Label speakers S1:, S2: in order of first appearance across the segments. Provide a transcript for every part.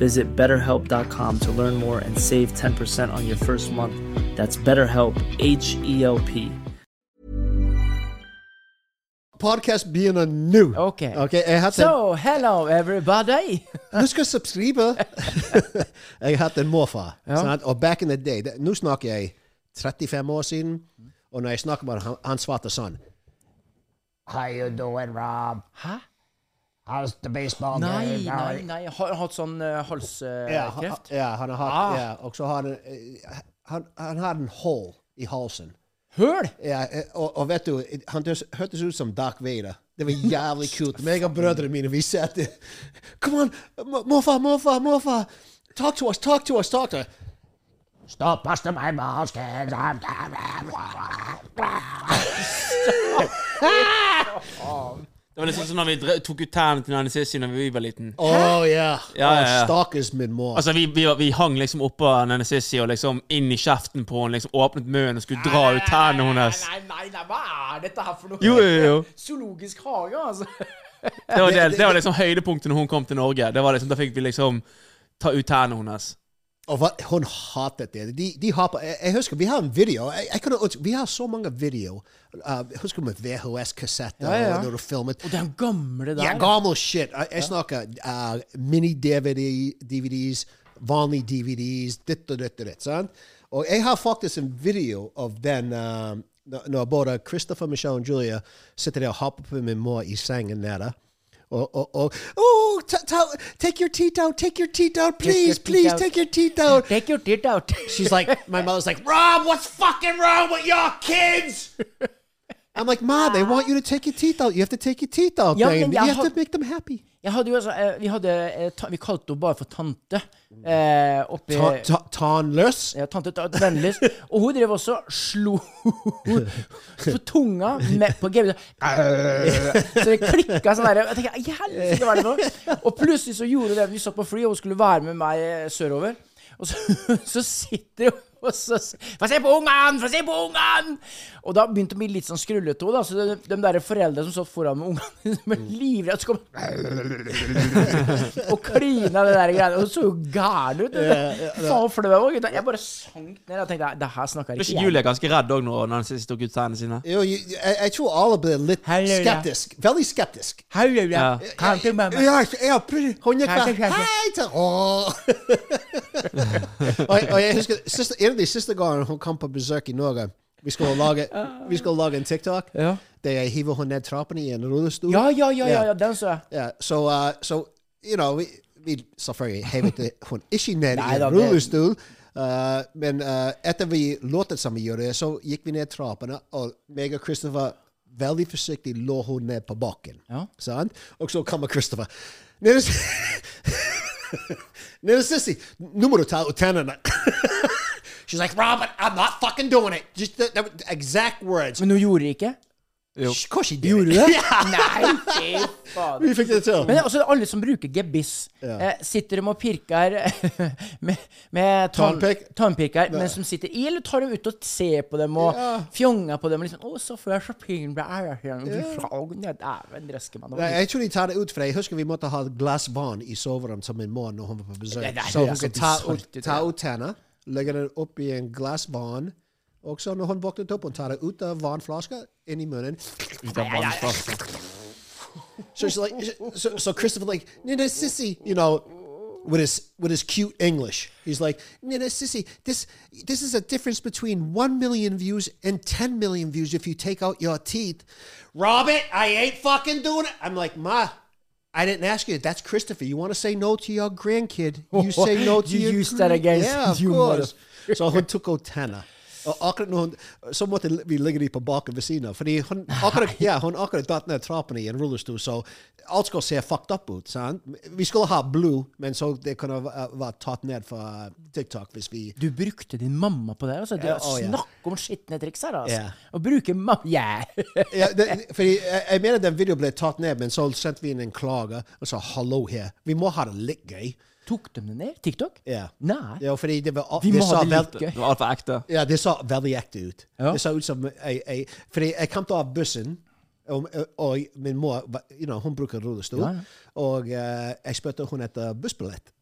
S1: Visit betterhelp.com to learn more and save 10% on your first month. That's BetterHelp, H E L P.
S2: Podcast being a new.
S3: Okay.
S2: Ok, jeg heter,
S3: So, hello everybody!
S2: Husk å subscribe! jeg heter Mofa.
S3: Ja.
S2: sant? Og back in the day det, Nå snakker jeg 35 år siden, og når jeg snakker med han, han svarte sånn
S4: How you doing, Rob?
S3: Hæ?
S4: How's the baseball game?
S3: Nei, nei, nei. Jeg har hatt sånn uh,
S2: ja, han,
S3: halskreft.
S2: ja, han har hatt
S3: Ah.
S2: ja, Og så har han eh, Han, han har en hull i halsen.
S3: Høl!
S2: Ja, eh, og, og vet du, han høres- hørtes ut som Dark Vader. Det var jævlig kult. Meg og brødrene mine, vi satt der. Come on, mo- morfar, morfar, morfar! Talk to us, talk to us, talk to us!
S4: Stop busting my balls, kids. I'm
S5: Det var nesten som når vi dre- tok ut tærne til Nanisissi når vi var liten.
S2: Å ja!
S5: Ja, ja, ja.
S2: Å, Stakkars min mor.
S5: Altså, vi, vi, var- vi hang liksom oppå Nanisissi og liksom inn i kjeften på henne, liksom åpnet munnen og skulle dra ut tærne hennes.
S3: Nei, nei, nei, hva er dette her for noe?
S5: Jo, jo, jo.
S3: Zoologisk hage, altså.
S5: Det var, det, det var liksom høydepunktet når hun kom til Norge. Det var liksom, Da fikk vi liksom ta ut tærne hennes.
S2: Og hva, hun hatet det. De, de har på, jeg, jeg husker, vi har en video. Jeg, jeg kunne, vi har så mange video. Uh, husker du med VHS-kassetter?
S3: Ja, ja, ja.
S2: og Når du filmet.
S3: Og den gamle der.
S2: Ja, gammel shit. Jeg, jeg snakker uh, mini-DVDs, vanlige DVDs, ditt og ditt og ditt. sant? Og jeg har faktisk en video av den um, når når både Christopher, Michelle og Julia sitter der og hopper på min mor i sengen nede. Og, og, og oh, ta, ta, Take your teeth out! Take your teeth out!
S3: your
S2: Please,
S3: teeth
S2: please,
S3: out.
S2: take your teeth out!
S3: Take your tit out.
S2: She's like, my mother's like, Rob, what's fucking wrong with your kids? I'm like, Ma, they want you to take your teeth out. You have to take your teeth out,
S3: Yeah,
S2: Dane.
S3: and
S2: You
S3: I
S2: have
S3: ho-
S2: to make them happy.
S3: Jeg hadde jo altså, eh, vi, hadde, eh, ta, vi kalte henne bare for tante. Eh, oppi
S2: Ta- ta- Tonless.
S3: Ja, tante Ta- Vennligst. Og hun drev også og slo på tunga med, på gamet. Så det klikka sånn der. Jeg tenker, «I helvete, hva er det for noe? Og plutselig så gjorde hun det. Vi satt på fly, og hun skulle være med meg eh, sørover. Og så, så sitter hun og så s- Få se på ungene! Få se på ungene! Og da begynte hun å bli litt sånn skrullete òg, da. Så de, de der foreldre som satt foran med ungene, som er livredde, så kom og klina det der greiene. Hun så jo gæren ut. Faen hvor flau jeg var. gutta. Jeg bare sank ned og tenkte det her snakker
S5: Ble
S3: ikke
S5: ikke Julia ganske redd òg når Nanisissi tok ut tærne sine?
S2: You know, you, I, I threw all of the lit
S3: Hallelujah.
S2: skeptisk, very skeptisk.
S3: Hallelujah.
S5: Ja.
S3: Come to mama.
S2: Yes, yeah, pretty. Hun gikk
S3: Kanskje,
S2: bare,
S3: kanskje.
S2: hei til Åh. og, jeg- og jeg husker siste, En av de siste gangene hun kom på besøk i Norge Vi skulle lage, vi skulle lage en TikTok uh,
S3: Ja.
S2: der jeg hiver henne ned trappene i en rullestol.
S3: Ja, ja, ja, ja, ja, den så jeg.
S2: Yeah. So, uh, so you know, vi, vi selvfølgelig hevet det uh, hun ikke ned i
S3: Nei
S2: en
S3: da, det-
S2: rullestol. Uh, men uh, etter vi låtet som vi gjorde, så gikk vi ned trappene, og meg og Christopher veldig forsiktig lå hun ned på bakken.
S3: Ja.
S2: Sant? Og så kommer Christopher. Nede, Nede Sissy, nå må du ta ut tennene. She's like, Robert, I'm not fucking doing it. Just the, the exact words.
S3: Men hun gjorde det ikke?
S2: Of course she did.
S3: Gjorde
S2: it.
S3: du det?
S2: Yeah.
S3: Nei, fy faen.
S2: We fixed it too.
S3: Men også alle som bruker gebiss, eh, sitter de og pirker med, med tann-
S2: Tannpirk?
S3: tannpirker, men som sitter i, eller tar de ut og ser på dem og fjonger på dem? Og liksom, å, så får jeg så pin ble æra her, og du fra- å, nei, dæven, røske meg nå.
S2: Nei, jeg tror de tar det ut, for jeg husker vi måtte ha et glass vann i soverommet til min mor når hun var på
S3: Det
S2: besøk.
S3: der
S2: Så hun
S3: høres så
S2: kunne ta
S3: bisart
S2: ut,
S3: ut,
S2: ta
S3: ja.
S2: ut tennene, legge den opp i en glass vann. Og så når hun våknet opp, hun tar det ut av vannflaska, inn i munnen.
S5: Ut av vannflaska.
S2: So she's like, so, so Christopher like, Nina sissy, you know, with his with his cute English, he's like, Nina sissy, this this is a difference between one million views and ten million views if you take out your teeth. Robert, I ain't fucking doing it. I'm like, ma. I didn't ask you. That's Christopher. You want to say no to your grandkid? You say no to
S3: You
S2: your
S3: used that
S2: grand-
S3: against
S2: yeah, of
S3: you,
S2: course. Så hun tok og tenna. Og akkurat når hun, så måtte vi ligge de på baken ved siden av. Fordi hun akkurat, ja, hun akkurat datt ned trappene i en rullestol, så alt skal se fucked up ut. sant? Vi skulle ha blue, men så det kunne ha eh, vært tatt ned fra TikTok hvis vi
S3: Du brukte din mamma på det? Altså. Du,
S2: Ja, å, ja.
S3: Snakk om skitne triks her, altså.
S2: Ja.
S3: Å bruke mamma yeah.
S2: ja, det, fordi jeg, jeg mener den videoen ble tatt ned, men så sendte vi inn en klage og sa 'hallo her'. Vi må ha det litt gøy.
S3: Tok de det ned? TikTok?
S2: Ja.
S3: Nei.
S2: Ja, fordi det var,
S3: Vi må
S2: det
S3: ha
S2: sa
S3: det litt
S2: vel-
S3: gøy.
S5: Det var altfor ekte.
S2: Ja, det så veldig ekte ut.
S3: Ja.
S2: Det så ut som jeg, jeg, Fordi jeg kom av bussen, og, og min mor var- you know, hun bruker rullestol.
S3: Ja, Mm. ja.
S2: Og eh, jeg spurte hun etter bussbillett.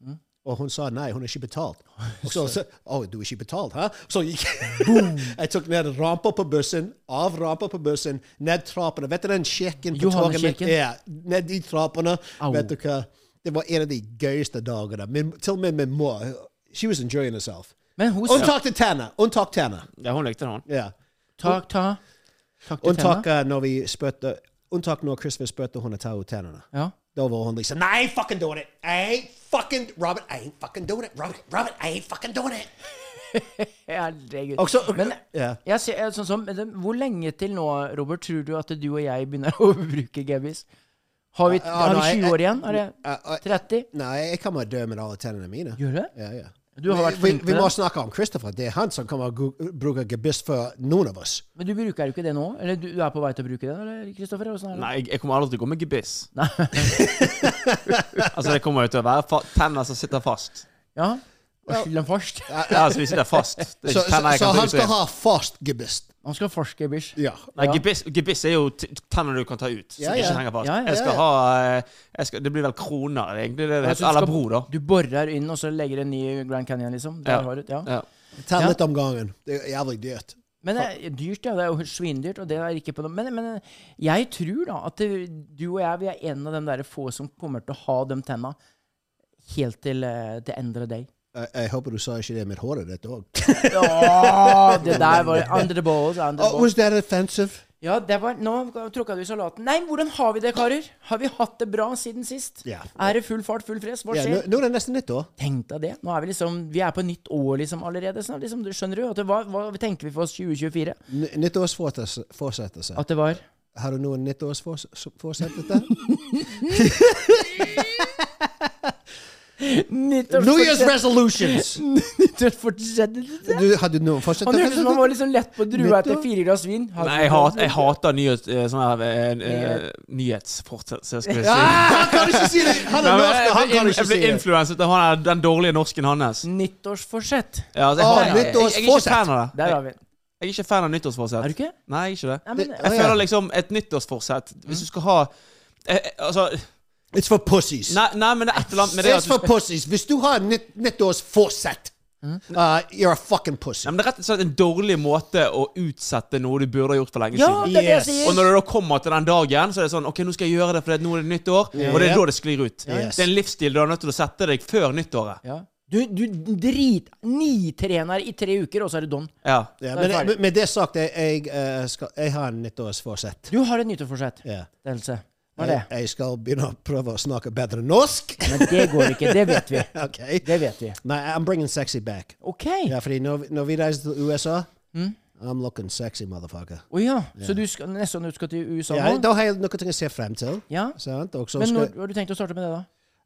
S2: Og hun sa nei, hun er ikke betalt. Og så sa å, du er ikke betalt, hæ? Så gikk jeg tok ned rampa på bussen, av rampa på bussen, ned trappene. Vet du den kirken på toget? mitt?
S3: Johanneskirken?
S2: Ja, ned de trappene.
S3: Au.
S2: Vet du hva? Det var en av de gøyeste dagene. Min, til og med min mor. She was enjoying herself.
S3: Men hun sa
S2: Unntak til tenner. Unntak tenner.
S5: Ja, hun likte den.
S2: Ja.
S3: Takk, ta. Takk til
S2: Unntak
S3: tenna.
S2: eh, når vi spurte Unntak når Christopher spurte hun å ta ut tennene.
S3: Ja.
S2: Da var hun liksom Nei, fucking doing it! I ain't fucking Robert, I ain't fucking doing it! Robert, Robert, I ain't fucking doing it!
S3: Herregud.
S2: Og så
S3: Men
S2: Ja.
S3: jeg ser, jeg- sånn som, men det- hvor lenge til nå, Robert, tror du at du og jeg begynner å bruke gebis? Har vi,
S2: Ja,
S3: har
S2: nei,
S3: vi 20 år
S2: jeg-
S3: igjen? Er det
S2: Ja, ja.
S3: 30?
S2: Nei, jeg kommer til å dø med alle tennene mine.
S3: Gjør du det?
S2: Ja, ja.
S3: Du har vært
S2: vi,
S3: flink
S2: vi
S3: til
S2: må
S3: det.
S2: snakke om Christopher. Det er han som kommer til å bruke gebiss for noen av oss.
S3: Men du bruker jo ikke det nå? Eller du, du er på vei til å bruke det? eller, Kristoffer? Eller sånn,
S5: Nei, jeg, jeg kommer aldri til å gå med gebiss. altså, det kommer jo til å være fa tenner som sitter fast.
S3: Ja? Og skyld dem først.
S5: Ja, altså, de sitter fast. Det er
S2: Så, så,
S5: ikke tenner
S2: så
S5: jeg kan ta
S2: han
S5: ut og
S2: skal
S5: inn.
S2: ha fast gebiss.
S3: Han skal forske, bish.
S2: Ja.
S5: Nei, gebiss, gebiss er jo t- tenner du kan ta ut, som
S2: Ja, ja.
S5: ikke henger fast.
S3: Ja, ja,
S5: Jeg skal
S2: ja.
S5: ha eh, jeg skal, Det blir vel kroner, er det egentlig. Det det
S3: Altså,
S5: heter,
S3: du
S5: eller
S3: skal-
S5: bro, da.
S3: Du borer inn, og så legger en ny Grand Canyon, liksom? Der
S5: Ja.
S3: har du det, ja.
S5: Ja.
S2: Ta
S3: Ja.
S2: litt om gangen. Det er jævlig dyrt.
S3: Men det er dyrt, ja. Det er jo svindyrt, og det er ikke på noe Men, men jeg tror da at det, du og jeg vi er en av de der få som kommer til å ha de tenna helt til eh, til endre deg.
S2: Jeg, jeg håper du sa ikke det med håret ditt òg.
S3: Ja, det der var under the balls. Under the
S2: Oh,
S3: balls.
S2: was that offensive?
S3: Ja, det var, nå tråkka du i salaten. Nei, men hvordan har vi det, karer? Har vi hatt det bra siden sist?
S2: Ja.
S3: Er det full fart, full fres? Hva
S2: Ja,
S3: skjer?
S2: nå, nå er det nesten nytt år.
S3: Tenk deg det. Nå er vi liksom, vi er på nytt år liksom allerede. Sånn, liksom, du skjønner du? At det, hva, hva tenker vi for oss 2024?
S2: N- Nyttårsfortsettelse.
S3: At det var
S2: Har du noen nyttårsfortsettelse? New Year's
S3: Nyttårsfortsett-
S2: resolutions!
S3: Nyttårsfortsettelse?
S2: Du, har du noen
S3: Han hørtes ut
S5: liksom-
S3: som
S2: fortsettelse?
S3: han var litt sånn lett på drua etter
S2: Nyttår?
S3: fire glass vin. Hadde
S5: Nei, jeg,
S3: han-
S5: hat, jeg hater nyhets, eh, sånn her eh, eh, nyhetsfortsettelse, skal jeg si.
S2: Ah, han kan ikke si det! Han
S5: Nei,
S2: er
S5: men
S2: norsk, og han
S5: jeg,
S2: kan
S5: jeg,
S2: ikke
S5: jeg
S2: si
S5: ble
S2: det.
S5: influenset av han, der- den dårlige norsken hans.
S3: Nyttårsforsett.
S5: Ja, altså,
S2: Å,
S5: jeg, har- jeg, jeg, jeg er
S2: nyttårsforsett.
S5: ikke fan av det.
S3: Der
S5: Jeg,
S3: har vi den.
S5: jeg er ikke fan av nyttårsforsett.
S3: Er du ikke?
S5: Nei, jeg er ikke det.
S3: Nei, men,
S2: Det- Å,
S5: Jeg
S2: ja.
S5: føler liksom et nyttårsforsett Hvis du skal ha eh, eh, Altså
S2: It's for pussies.
S5: nei, nei, men det er et eller annet med det at
S2: It's
S5: du
S2: for
S5: skal,
S2: pussies. Hvis du har nytt, nyttårsforsett, uh, you're a fucking pussy.
S5: nei, men Det er rett og slett en dårlig måte å utsette noe du burde ha gjort for lenge
S3: ja,
S5: siden.
S3: det er det jeg
S2: Yes.
S3: sier.
S5: Og når du da kommer til den dagen, så er det sånn OK, nå skal jeg gjøre det, for det er- nå er det nytt år. Og det er da det sklir ut.
S2: Yes.
S5: Det er en livsstil du er nødt til å sette deg før nyttåret.
S3: ja. Du, du drit nitrener i tre uker, og så er du don.
S5: Ja.
S2: Ja,
S3: Da er
S2: men
S3: det ferdig.
S2: men- med det sagt, jeg, jeg, eh, skal, jeg har en nyttårsforsett.
S3: Du har et nyttårsforsett,
S2: Ja.
S3: Else. Hva er
S2: Jeg,
S3: det?
S2: jeg skal begynne å prøve å snakke bedre norsk.
S3: Men det går ikke. Det vet vi.
S2: Ok.
S3: Det vet vi.
S2: Nei, I'm bringing sexy back.
S3: OK.
S2: Ja, fordi når, vi- når vi reiser til USA I'm looking sexy, motherfucker.
S3: Å ja. Så du skal, neste gang du skal til USA
S2: Ja,
S3: nå?
S2: da har jeg noe å se frem til.
S3: Ja.
S2: Sant? Og så
S3: Men
S2: skal,
S3: når har du tenkt å starte med det, da?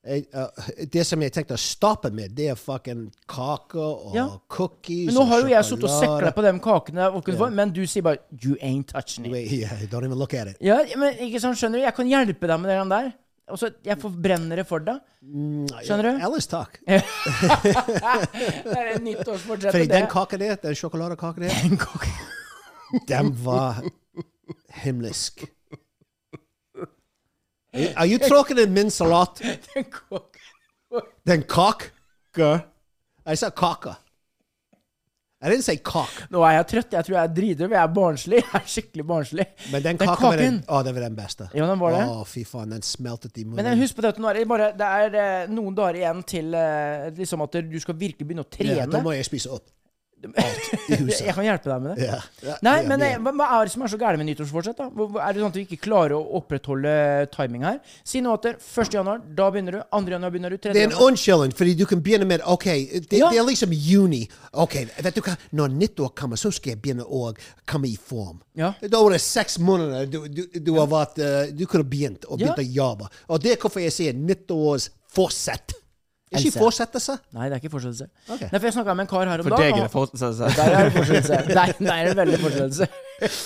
S2: Jeg, eh, det som jeg tenkte å stoppe med, det er fucking kaker og
S3: Ja.
S2: cookies
S3: Men nå har jo jeg sittet
S2: sittet
S3: og søkla på de kakene, der, og kunne få, men du sier bare 'you ain't touching it'.
S2: Yeah, don't even look at it.
S3: Ja, men ikke sånn, skjønner du? Jeg kan hjelpe deg med det der. Og så jeg forbrenner det for deg. Skjønner du?
S2: Ellers takk.
S3: Det er et nyttårsfortsett.
S2: Fordi
S3: og
S2: den
S3: det-
S2: kaken der, den sjokoladekaken der,
S3: Den kak-
S2: den var himmelsk. Are you talking in min salat?
S3: den kak-
S2: Den kake? I said kaka. I didn't say cock,
S3: Nå er jeg trøtt. Jeg tror jeg er drithøy. Jeg er barnslig. Jeg er skikkelig barnslig.
S2: men den,
S3: Den
S2: kaken var den,
S3: kaken.
S2: å, det var den beste.
S3: Ja, den var det.
S2: Å, fy faen, den smeltet i munnen.
S3: Men eh, husk på det at nå er det bare Det er eh, noen dager igjen til eh, liksom at du skal virkelig begynne å
S2: Ja, da
S3: trene.
S2: må jeg spise opp.
S3: Jeg kan hjelpe deg med det.
S2: Ja. Ja,
S3: Nei,
S2: ja,
S3: men
S2: ja.
S3: eh, hva, hva er det som er så gærent med nyttårsfortsett? da? Hvor- hvor- Er det sånn at vi ikke klarer å opprettholde timing her? Si nå at det er 1. januar, da begynner du. 2. januar begynner du. 3.
S2: Det er en
S3: januar
S2: unnskyldning, fordi du kan begynne med OK, det,
S3: Ja.
S2: det er liksom juni. OK, vet du hva? Når nyttår kommer, så skal jeg begynne å komme i form.
S3: Ja.
S2: Da var det seks måneder du, du, du har vært eh, Du kunne begynt og
S3: Ja.
S2: begynt å jobbe. Og det er hvorfor jeg sier nyttårsforsett. Ikke
S3: Else.
S2: fortsettelse.
S3: Nei, det er ikke fortsettelse.
S2: Ok.
S3: Nei, for jeg snakka med en kar her om
S5: For
S3: dagen.
S5: deg er
S3: og
S5: det
S3: han-
S5: fortsatt sånn.
S3: Der er det fortsettelse. Der, der er det veldig fortsettelse.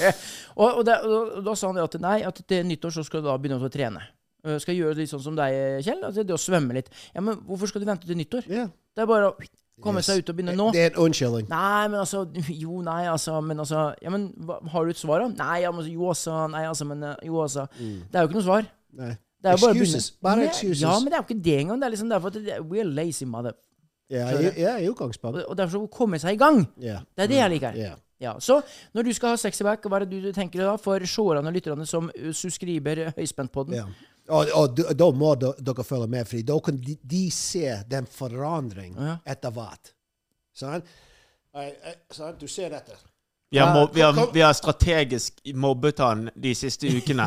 S3: og, og, det, og da sa han det at nei, at til nyttår så skal du da begynne å trene. Øh, Skal gjøre litt sånn som deg, Kjell. Altså det å svømme litt. Ja, men hvorfor skal du vente til nyttår?
S2: Ja.
S3: Det er bare å komme seg ut og begynne nå.
S2: Eh, Det er en unnskyldning.
S3: Nei, men altså Jo, nei, altså Men altså ja, men, hva, Har du et svar, da? Nei, ja, men, jo, altså. Nei, altså, men eh, Jo, altså. Det er jo ikke noe svar.
S2: Mm. Nei.
S3: Det er jo bare å
S2: Excuses.
S3: begynne.
S2: Bare
S3: Nei,
S2: excuses.
S3: Ja, men det er jo ikke det engang. Det er liksom derfor at det, We're lazy, mother.
S2: Ja,
S3: Skjønner
S2: i-
S3: du?
S2: ja, i utgangspunktet.
S3: Og og derfor så komme seg i gang.
S2: Ja.
S3: Det er det
S2: Mm,
S3: jeg liker.
S2: Ja.
S3: Ja, Så når du skal ha sexy back, hva er det du tenker da for seerne og lytterne som uh, subscriber Høyspentpodden?
S2: Ja. Og, og d- da må d- dere følge med, for da kan de, de se den forandring
S3: Ja.
S2: etter hvert. Sånn? Nei, eh, sånn? Du ser dette.
S5: Vi har, mobb, vi, har, vi har strategisk mobbet han de siste ukene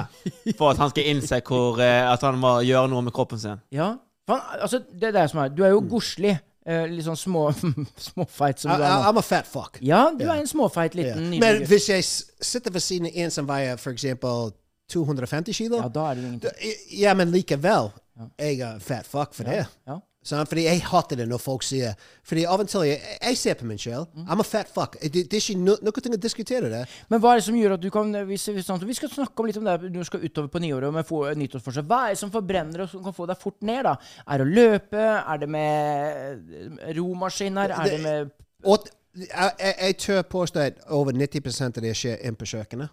S5: for at han skal innse hvor, eh, at han må gjøre noe med kroppen sin.
S3: Ja. Faen, altså, det er det som er. Du er
S2: Mm.
S3: jo godslig. Eh, litt sånn små, småfeit som
S2: I,
S3: du er
S2: I,
S3: nå.
S2: I'm a fat fuck.
S3: Ja, Mm, du er en småfeit
S2: Ja.
S3: liten
S2: Men
S3: nydelig gutt.
S2: hvis jeg s- sitter ved siden av en som veier for eksempel 250 kilo,
S3: Ja, da er det jo ingenting.
S2: d- ja, men likevel, jeg er en fat fuck for det.
S3: Ja.
S2: Sånn, fordi jeg hater det når folk sier Fordi av og til jeg, jeg ser på meg selv.
S3: Mm.
S2: I'm a fat fuck. Det, det er ikke no, noe ting å diskutere det.
S3: Men hva er det som gjør at du kan hvis, hvis, sånn, Vi skal snakke om litt om det her, du skal utover på nyåret med få, nyttårsforsett. Hva er det som forbrenner og som kan få deg fort ned? da? Er det å løpe? Er det med eh, romaskiner? Er det med
S2: Og t- jeg, jeg, jeg tør påstå at over 90 av det skjer inn på kjøkkenet.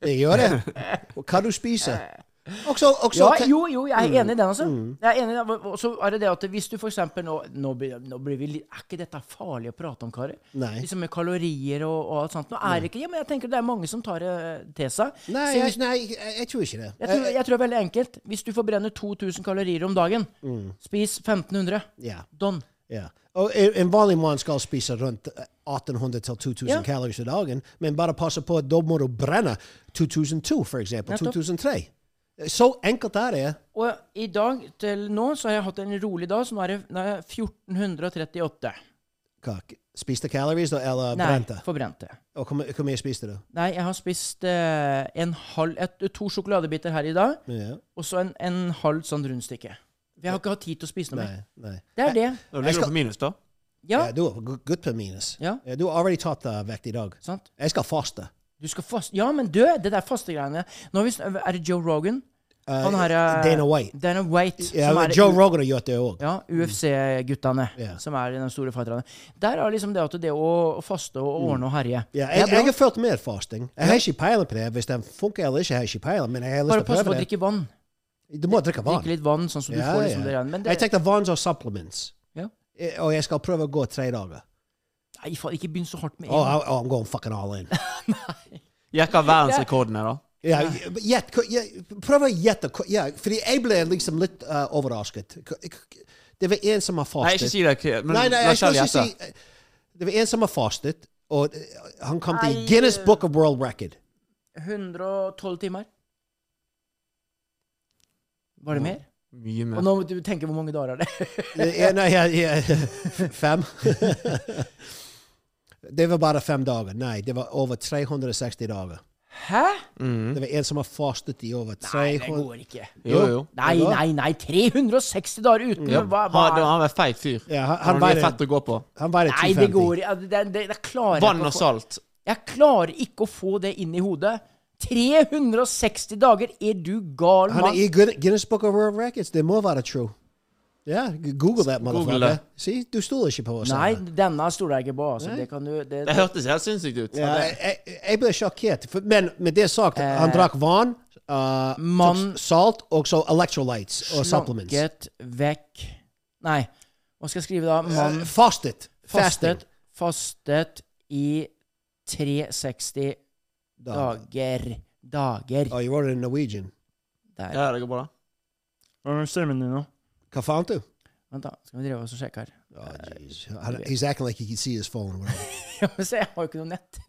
S2: Det gjør det. Og Hva du spiser. Også, også,
S3: ja, jo, jo, jeg er enig i den, altså. Jeg er enig i den. Og- Og så er det det at hvis du for eksempel nå, nå, blir- nå blir vi litt Er ikke dette farlig å prate om, karer?
S2: Nei.
S3: Liksom med kalorier og, og alt sånt. Nå er det ikke Ja, men jeg tenker det er mange som tar det til seg.
S2: Nei,
S3: Så
S2: jeg,
S3: hvis-
S2: nei jeg, jeg tror ikke det. Eh,
S3: jeg, tror, jeg tror det er veldig enkelt. Hvis du forbrenner 2000 kalorier om dagen, spis 1500.
S2: Ja,
S3: Don.
S2: ja. Og en en vanlig mann skal spise rundt eh, 1800 til 2000
S3: Ja.
S2: kalorier i dagen, men bare passe på at da må du brenne 2002, for eksempel.
S3: Nettopp.
S2: 2003. Så enkelt er det.
S3: Og i dag til nå så har jeg hatt en rolig dag, så nå er det nå er jeg 1438.
S2: Hva, Spiste kalorier da, eller
S3: Nei,
S2: brente?
S3: forbrente.
S2: Og hvor mye hvor mye spiste du?
S3: Nei, jeg har spist eh, en halv, et, to sjokoladebiter her i dag.
S2: Ja.
S3: Og så en, en halv sånn rundstykke. Vi har ikke hatt tid til å spise noe
S2: Nei,
S3: mer.
S2: nei.
S3: Det er det.
S5: Da ligger
S2: skal-
S5: du på minus, da.
S3: Ja,
S2: Ja, du er gu- gutt på minus.
S3: Ja.
S2: du har allerede tatt eh, vekt i dag.
S3: sant?
S2: Jeg skal faste.
S3: Du skal fast... Ja, men dø! Det der fastegreiene. Nå har vi sn- Er det Joe Rogan?
S2: Eh,
S3: Han her er
S2: Dana White.
S3: Dana White.
S2: Ja,
S3: som
S2: men
S3: er-
S2: Joe Rogan har gjort det òg.
S3: Ja, UFC-guttene,
S2: Ja.
S3: som er de store fighterne. Der er liksom det at det å faste og ordne og herje
S2: Mm. Ja,
S3: Det
S2: jeg,
S3: er bra.
S2: jeg har fulgt med fasting. Jeg har ikke peiling på det. Hvis den funker eller ikke, jeg har ikke peiling. Men jeg har lyst
S3: Bare
S2: til å
S3: pass på
S2: prøve
S3: å
S2: det.
S3: drikke vann.
S2: Du må drikke vann.
S3: Drikke litt vann, sånn som du
S2: Ja,
S3: får liksom
S2: ja.
S3: det der. Men det
S2: Jeg tenkte vann og supplements.
S3: Ja.
S2: Eh, Og jeg skal prøve å gå tre dager.
S3: Nei, faen, ikke begynn så hardt med en
S2: Oh,
S3: gang.
S2: I, I'm going fucking all in.
S5: Gjett hva verdensrekorden er, da.
S2: Ja, gjett, hva- ja, prøv å gjette. hva- Ja, fordi jeg ble liksom litt eh, overrasket. Det var en som har fastet.
S5: Nei, ikke si det. K- Men
S2: nei, nei,
S5: la
S2: jeg skal
S5: Kjell
S2: ikke
S5: gjette.
S2: si Det var en som har fastet, og eh, han kom til Guinness Book of World Record.
S3: 112 timer. Var det mer?
S5: Mye
S3: Og
S5: mer.
S3: nå må du tenke hvor mange dager er det
S2: Eh, ja, nei, ja, ja, f- fem. det var bare fem dager. Nei, det var over 360 dager.
S3: Hæ?
S2: Det var en som har fastet i over
S3: Nei, det er
S2: 300
S3: går ikke.
S5: Mm-hmm. Jo, jo.
S3: Nei, nei, nei. 360 dager uten hva, hva?
S5: Han, han er feit fyr.
S2: Ja, han- han
S5: han blir
S2: var-
S5: fett å gå på.
S2: Han var i
S3: Nei, det
S2: 250.
S3: er går ikke. Altså, Det, det, det klarer jeg
S5: Vann
S3: ikke å
S5: og
S3: få-
S5: salt.
S3: Jeg klarer ikke å få det inn i hodet. 360 dager? Er du gal,
S2: Han
S3: mann?
S2: er i Guin- Guinness Book of World Records. Det må være true. Ja, g- google that, motherfucker.
S5: det.
S2: Si, du stoler ikke på oss.
S3: Nei,
S2: Anna.
S3: denne stoler jeg ikke på. Altså. Det kan du det,
S5: Det hørtes helt sinnssykt ut.
S2: Ja, jeg, jeg ble sjokkert. For, men med det er sagt,
S3: Øh.
S2: han drakk vann, uh,
S3: mann-
S2: tok salt og så electrolytes og supplements.
S3: Slanket vekk Nei, hva skal jeg skrive da? Mann
S2: Uh, fastet.
S3: fastet
S2: Fasting.
S3: Fastet i 360
S2: Dag.
S3: dager. Dager.
S2: Oh, you wrote it in Norwegian.
S3: Der.
S5: Ja, det går bra.
S3: Hva er stemmen din nå?
S2: Hva fant du?
S3: Vent, da. Skal vi drive oss og sjekke her?
S2: Oh, jeez. Han- He's acting like he can see his phone.
S3: Ja, men se, jeg har jo ikke noe nett.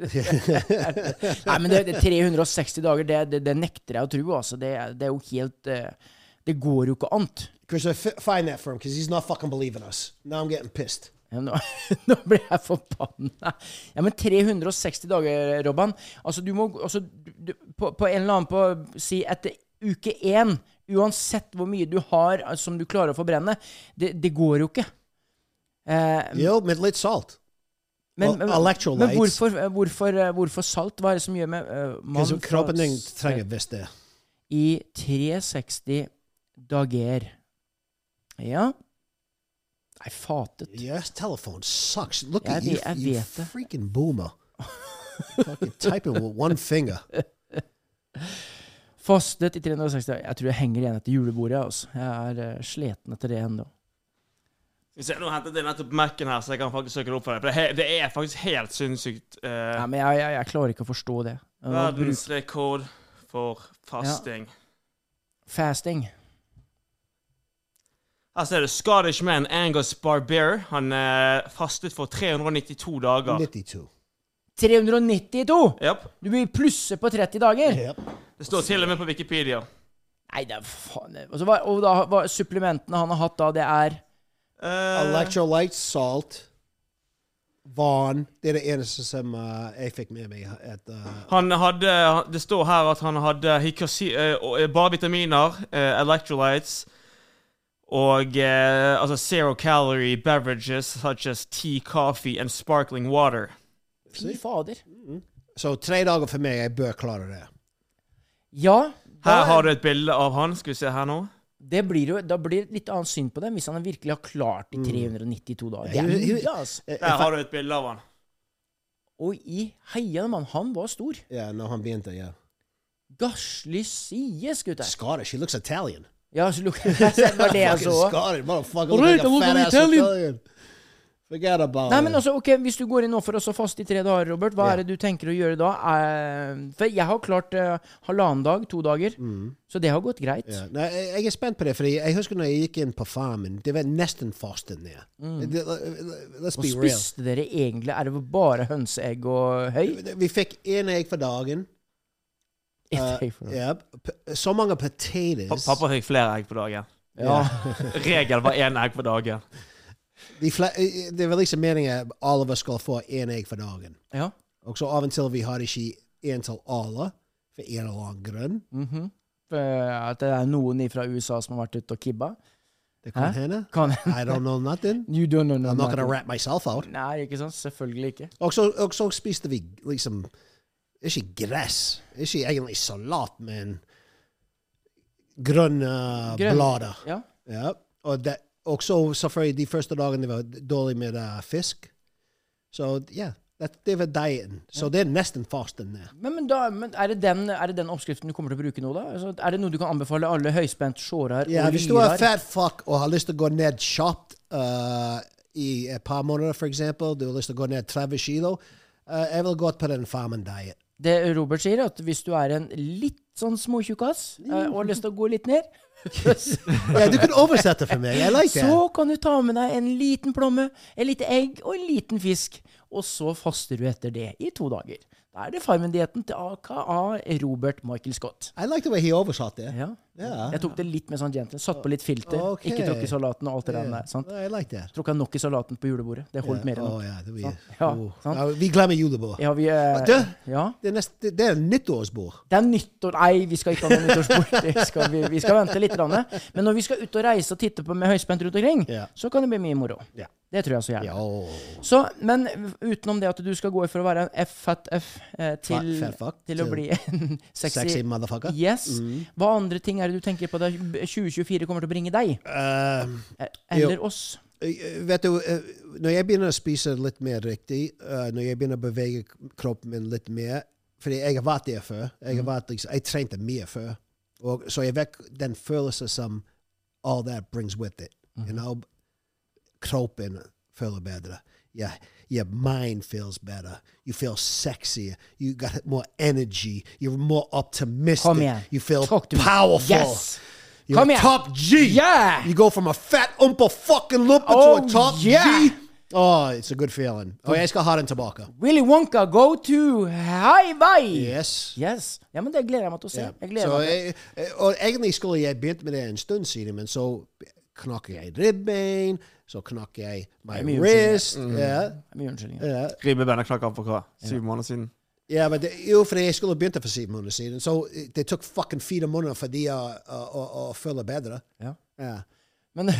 S3: Nei, men det, det 360 dager, det, det, det nekter jeg å tro. Altså. Det, det er jo helt eh, Det går jo ikke annet.
S2: Christopher, f- find that for him because he's not fucking believing us. Now I'm getting pissed.
S3: Ja, Nå, nå ble jeg forbanna. Ja, men 360 dager, Robban. Altså, du må altså, du, du, på, på en eller annen på Si etter uke én, uansett hvor mye du har altså, som du klarer å forbrenne, det, det går jo ikke. Eh,
S2: Yo, med litt salt.
S3: men,
S2: Og
S3: men,
S2: electrolytes.
S3: men hvorfor, eh, hvorfor, hvorfor salt? Hva er det som gjør med eh, mann
S2: Because kroppen din
S3: fra-
S2: trenger visst det.
S3: i 360 dager. Ja. Nei, fatet.
S2: Yes, telephone sucks. Look
S3: Jeg
S2: at you,
S3: vet- jeg
S2: you
S3: vet det.
S2: freaking boomer. fucking typing with one finger.
S3: Fastet i 360 dager. Jeg tror jeg henger igjen etter julebordet. Altså. Jeg er eh, sliten etter det ennå.
S5: Skal vi se, Nå hentet jeg nettopp Mac-en her, så jeg kan faktisk søke det opp for deg. For det, he- det er faktisk helt sinnssykt. eh,
S3: Nei, men jeg, jeg, jeg klarer ikke å forstå det. Å bruke
S5: Verdensrekord for fasting.
S3: Fasting.
S5: Her ser du Scottish man Angus Barber. Han eh, fastet for 392 dager.
S2: 92.
S3: 392!
S5: Japp.
S3: Du blir plusset på 30 dager!
S2: Yep.
S5: Det står til og med på Wikipedia.
S3: Nei, det er faen det- altså, hva, Og da, hva, supplementene han har hatt da, det er
S5: Eh,
S2: Uh, Electrolyte, salt, vann. Det er det eneste som uh, jeg fikk med meg. At, uh,
S5: han hadde, Det står her at han hadde hikasi, eh, og- eh, bare vitaminer, eh, electrolytes og eh, altså zero calorie beverages such as tea, coffee and sparkling water.
S3: Fy fader.
S2: så tre dager for meg, jeg bør klare det.
S3: Ja,
S5: Her
S3: da,
S5: har du et bilde av han. Skal vi se her nå.
S3: det blir jo, da blir det litt annet syn på dem hvis han virkelig har klart de 392 dager. Det er
S2: Ja,
S3: mye, altså.
S5: Der har du et bilde av han.
S3: Og i heiene, mann, han var stor.
S2: Ja, når han begynte, ja.
S3: Gasli sies, gutter.
S2: uh, Scottish, he looks Italian.
S3: Ja, så lukk Det var det jeg
S2: Fucking
S3: så.
S2: Scottish, motherfucker.
S3: All
S2: look
S3: right,
S2: like
S3: I
S2: a
S3: was an
S2: fat ass
S3: Italian.
S2: Italian. Forget about
S3: Nei,
S2: it.
S3: men altså, ok, Hvis du går inn nå for å så faste i tre dager, Robert, hva
S2: Ja.
S3: er det du tenker å gjøre da? Eh, For jeg har klart eh, halvannen dag, to dager, så det har gått greit.
S2: Mm. Ja. Nei, jeg jeg er spent på det, fordi jeg husker når jeg gikk inn på farmen, det var nesten fasten der. Det- Let's
S3: Mm. Og
S2: be real.
S3: spiste dere egentlig Er det bare hønseegg og høy?
S2: Vi fikk én egg for dagen.
S3: Et
S2: Eh,
S3: egg for noe.
S2: ja, p- så mange
S5: Pa-
S2: potatoes.
S5: Pappa fikk flere egg på dagen.
S3: Ja.
S5: Regel var én egg på dagen.
S2: De fle- eh, det var liksom meningen at alle av oss skulle få én egg for dagen.
S3: ja.
S2: Og så av og til vi hadde ikke én til alle, for en eller annen grunn.
S3: Mhm. Eh, At det er noen fra USA som har vært ute og kibba?
S2: Det kan hende.
S3: Kan
S2: I don't know nothing.
S3: You don't know
S2: I'm not gonna
S3: nothing.
S2: wrap myself out.
S3: Nei, ikke sant? Selvfølgelig ikke.
S2: Og så, og så spiste vi liksom Ikke gress. Ikke egentlig salat, men grønne
S3: Grønn-
S2: blader.
S3: Ja.
S2: Ja. Og, det, og så selvfølgelig de første dagene var dårlig med eh, fisk. Så ja, det, det var dietten. Så det er nesten fasten. det.
S3: Men, men, da, men er, det den, er det den oppskriften du kommer til å bruke nå, da? Altså, er det noe du kan anbefale alle høyspent sjårar
S2: Ja,
S3: og
S2: hvis du er
S3: lyrar?
S2: fat fuck og har lyst til å gå ned kjapt eh, i et par måneder, for eksempel, du har lyst til å gå ned 30 kilo, eh, jeg vil gå på den farmen-diet.
S3: Det Robert sier, at hvis du er en litt sånn småtjukkas eh, og har lyst til å gå litt ned
S2: Ja, du kunne oversette for meg. Jeg liker det.
S3: Så kan du ta med deg en liten plomme, et lite egg og en liten fisk. Og så faster du etter det i to dager. Da er det Farmen-dietten til AKA Robert Michael Scott.
S2: I like the way he oversatte det.
S3: Ja.
S2: Ja.
S3: Jeg tok det litt med sånn gentle. Satt på litt filter.
S2: Ok.
S3: Ikke tråkk i salaten og alt det der. sant?
S2: I like that.
S3: Tråkka nok i salaten på julebordet. Det holdt mer enn
S2: Å
S3: nok.
S2: ja, det blir,
S3: Sant? Ja,
S2: oh.
S3: sant?
S2: ja, vi glemmer julebord.
S3: Ja, vi eh,
S2: Du?
S3: Ja.
S2: Det er, nest, det er nyttårsbord.
S3: Det er nyttår... Nei, vi skal ikke ha noe nyttårsbord. Det skal Vi, vi skal vente litt. grann. Men når vi skal ut og reise og titte på med høyspent rundt omkring,
S2: Ja.
S3: så kan det bli mye moro.
S2: Ja.
S3: Det tror jeg så gjerne.
S2: Ja.
S3: Så, men utenom det at du skal gå for å være en F-fat-F eh, til,
S2: Fat fuck
S3: til å
S2: til
S3: bli en sexy,
S2: Sexy Mm. motherfucker.
S3: Yes. Hva andre ting er det du tenker på da 2024 kommer til å bringe deg?
S2: Ehm,
S3: Eh, Eller oss?
S2: Eh, vet du, eh, når jeg begynner å spise litt mer riktig, eh, når jeg begynner å bevege kroppen min litt mer fordi jeg er har vært der før. Jeg,
S3: Mm.
S2: har vært, liksom, jeg trente mye før. Og, så jeg vet den følelsen som all that brings with it.
S3: Mm.
S2: You know? Kroppen føler bedre. Yeah, your mind feels better. You feel sexier. You got more energy. You're more optimistic.
S3: Kom igjen.
S2: You feel
S3: Talk to me.
S2: powerful.
S3: Yes.
S2: You're
S3: Come
S2: a
S3: here.
S2: top G.
S3: Yeah.
S2: You go from a fat umpa fucking lumpa to
S3: Oh,
S2: a top
S3: yeah.
S2: G. Oh, it's a good feeling. Oh, jeg skal ha den tilbake.
S3: Willy Wonka, go to high bye!
S2: Yes.
S3: Yes. Ja, men det gleder jeg meg til å se.
S2: Yeah. eh,
S3: Jeg gleder
S2: Så
S3: meg til
S2: jeg- jeg- og egentlig skulle jeg begynt med det en stund siden, men så knakk jeg ribbein, så knakk jeg my
S3: er mye
S2: wrist. Ja,
S3: Mye unnskyldninger.
S2: ja.
S5: Ribbebeina knakk av for hva? Syv måneder siden?
S2: Ja, men det, jo, fordi jeg skulle begynt for syv måneder siden, så det tok eh, fucking fire måneder for de å, å, å, å føle bedre.
S3: Ja.
S2: eh, Ja.
S3: Men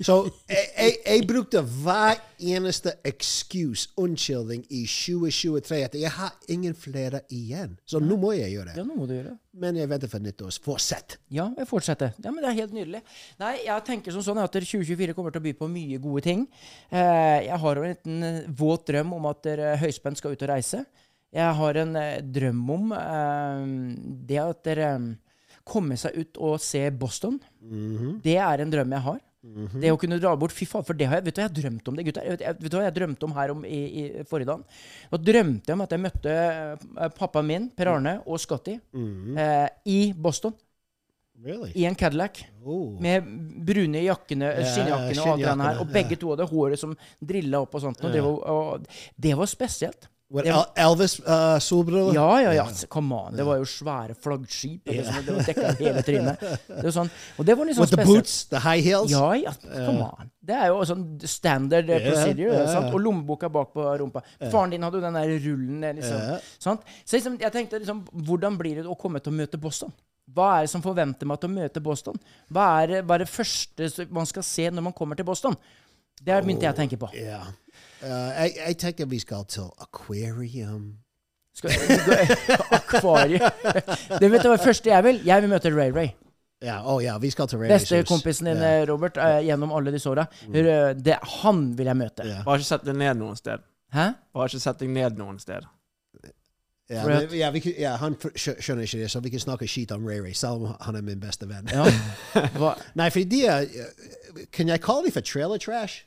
S2: Så jeg, jeg, jeg brukte hver eneste excuse, unnskyldning, i 2023 at jeg har ingen flere igjen. Så nå må jeg gjøre
S3: ja,
S2: det.
S3: nå må du gjøre det.
S2: e Men e jeg venter for nyttårsforsett.
S3: Ja, jeg fortsetter. Ja, men Det er helt nydelig. Nei, jeg tenker som sånn at 2024 kommer til å by på mye gode ting. Eh, Jeg har jo en liten eh, våt drøm om at dere høyspent skal ut og reise. Jeg har en eh, drøm om eh, det at dere eh, kommer seg ut og ser Boston. Det er en drøm jeg har. Det å kunne dra bort Fy faen, for det har jeg Vet du hva jeg har drømt om det, gutter? Jeg Vet, jeg, vet du hva jeg drømte om her om i, i forrige dagen? Da drømte jeg om at jeg møtte eh, pappaen min, Per Arne, og Scotty
S2: Mm.
S3: eh, i Boston
S2: Mm-hmm. Really?
S3: i en Cadillac.
S2: Oh.
S3: Med brune jakkene,
S2: ja,
S3: skinnjakkene og alt det
S2: skinnjakkene,
S3: her. Og begge to hadde håret som drilla opp og sånt. Og det, var, og det var spesielt.
S2: What,
S3: Det-
S2: El- Elvis uh, solbriller?
S3: Ja, ja, ja. altså, Come on. Det var jo svære flaggskip. eller sånn, Det var dekka hele trynet. Det var sånn, og det var litt sånn
S2: With the
S3: spesielt.
S2: boots, the high heels?
S3: Ja, ja, come on. Det er jo sånn standard eh,
S2: Altså, eh. Ja,
S3: procedure.
S2: ja.
S3: Sant? Og lommeboka bak på rumpa. Faren din hadde jo den der rullen. eh, Liksom, sant? Så liksom, jeg tenkte liksom, hvordan blir det å komme til å møte Boston? Hva er det som forventer meg til å møte Boston? Hva er, det- hva er det første som man skal se når man kommer til Boston? Det er begynte jeg å tenke på.
S2: Ja. Uh, jeg, jeg tenker vi skal til aquarium.
S3: Skal, akvariet. Det vet du hva det første jeg vil? Jeg vil møte Ray Ray.
S2: Ja, oh, ja, vi skal til Ray
S3: Beste
S2: Racers.
S3: kompisen din,
S2: Ja.
S3: eh, Robert, eh, gjennom alle disse åra. eh, Det- Han vil jeg møte.
S2: Ja.
S5: Bare ikke sett deg ned noen sted.
S3: Hæ?
S5: Bare ikke sett deg ned noen sted.
S2: Ja,
S3: For
S2: men, ja, vi, kan- ja, han skjø- skjønner ikke det, så vi kan snakke skit om Ray Ray, selv om han er min beste venn.
S3: Ja. Hva?
S2: Nei, for de er eh, Kan jeg kalle de for trailer trash?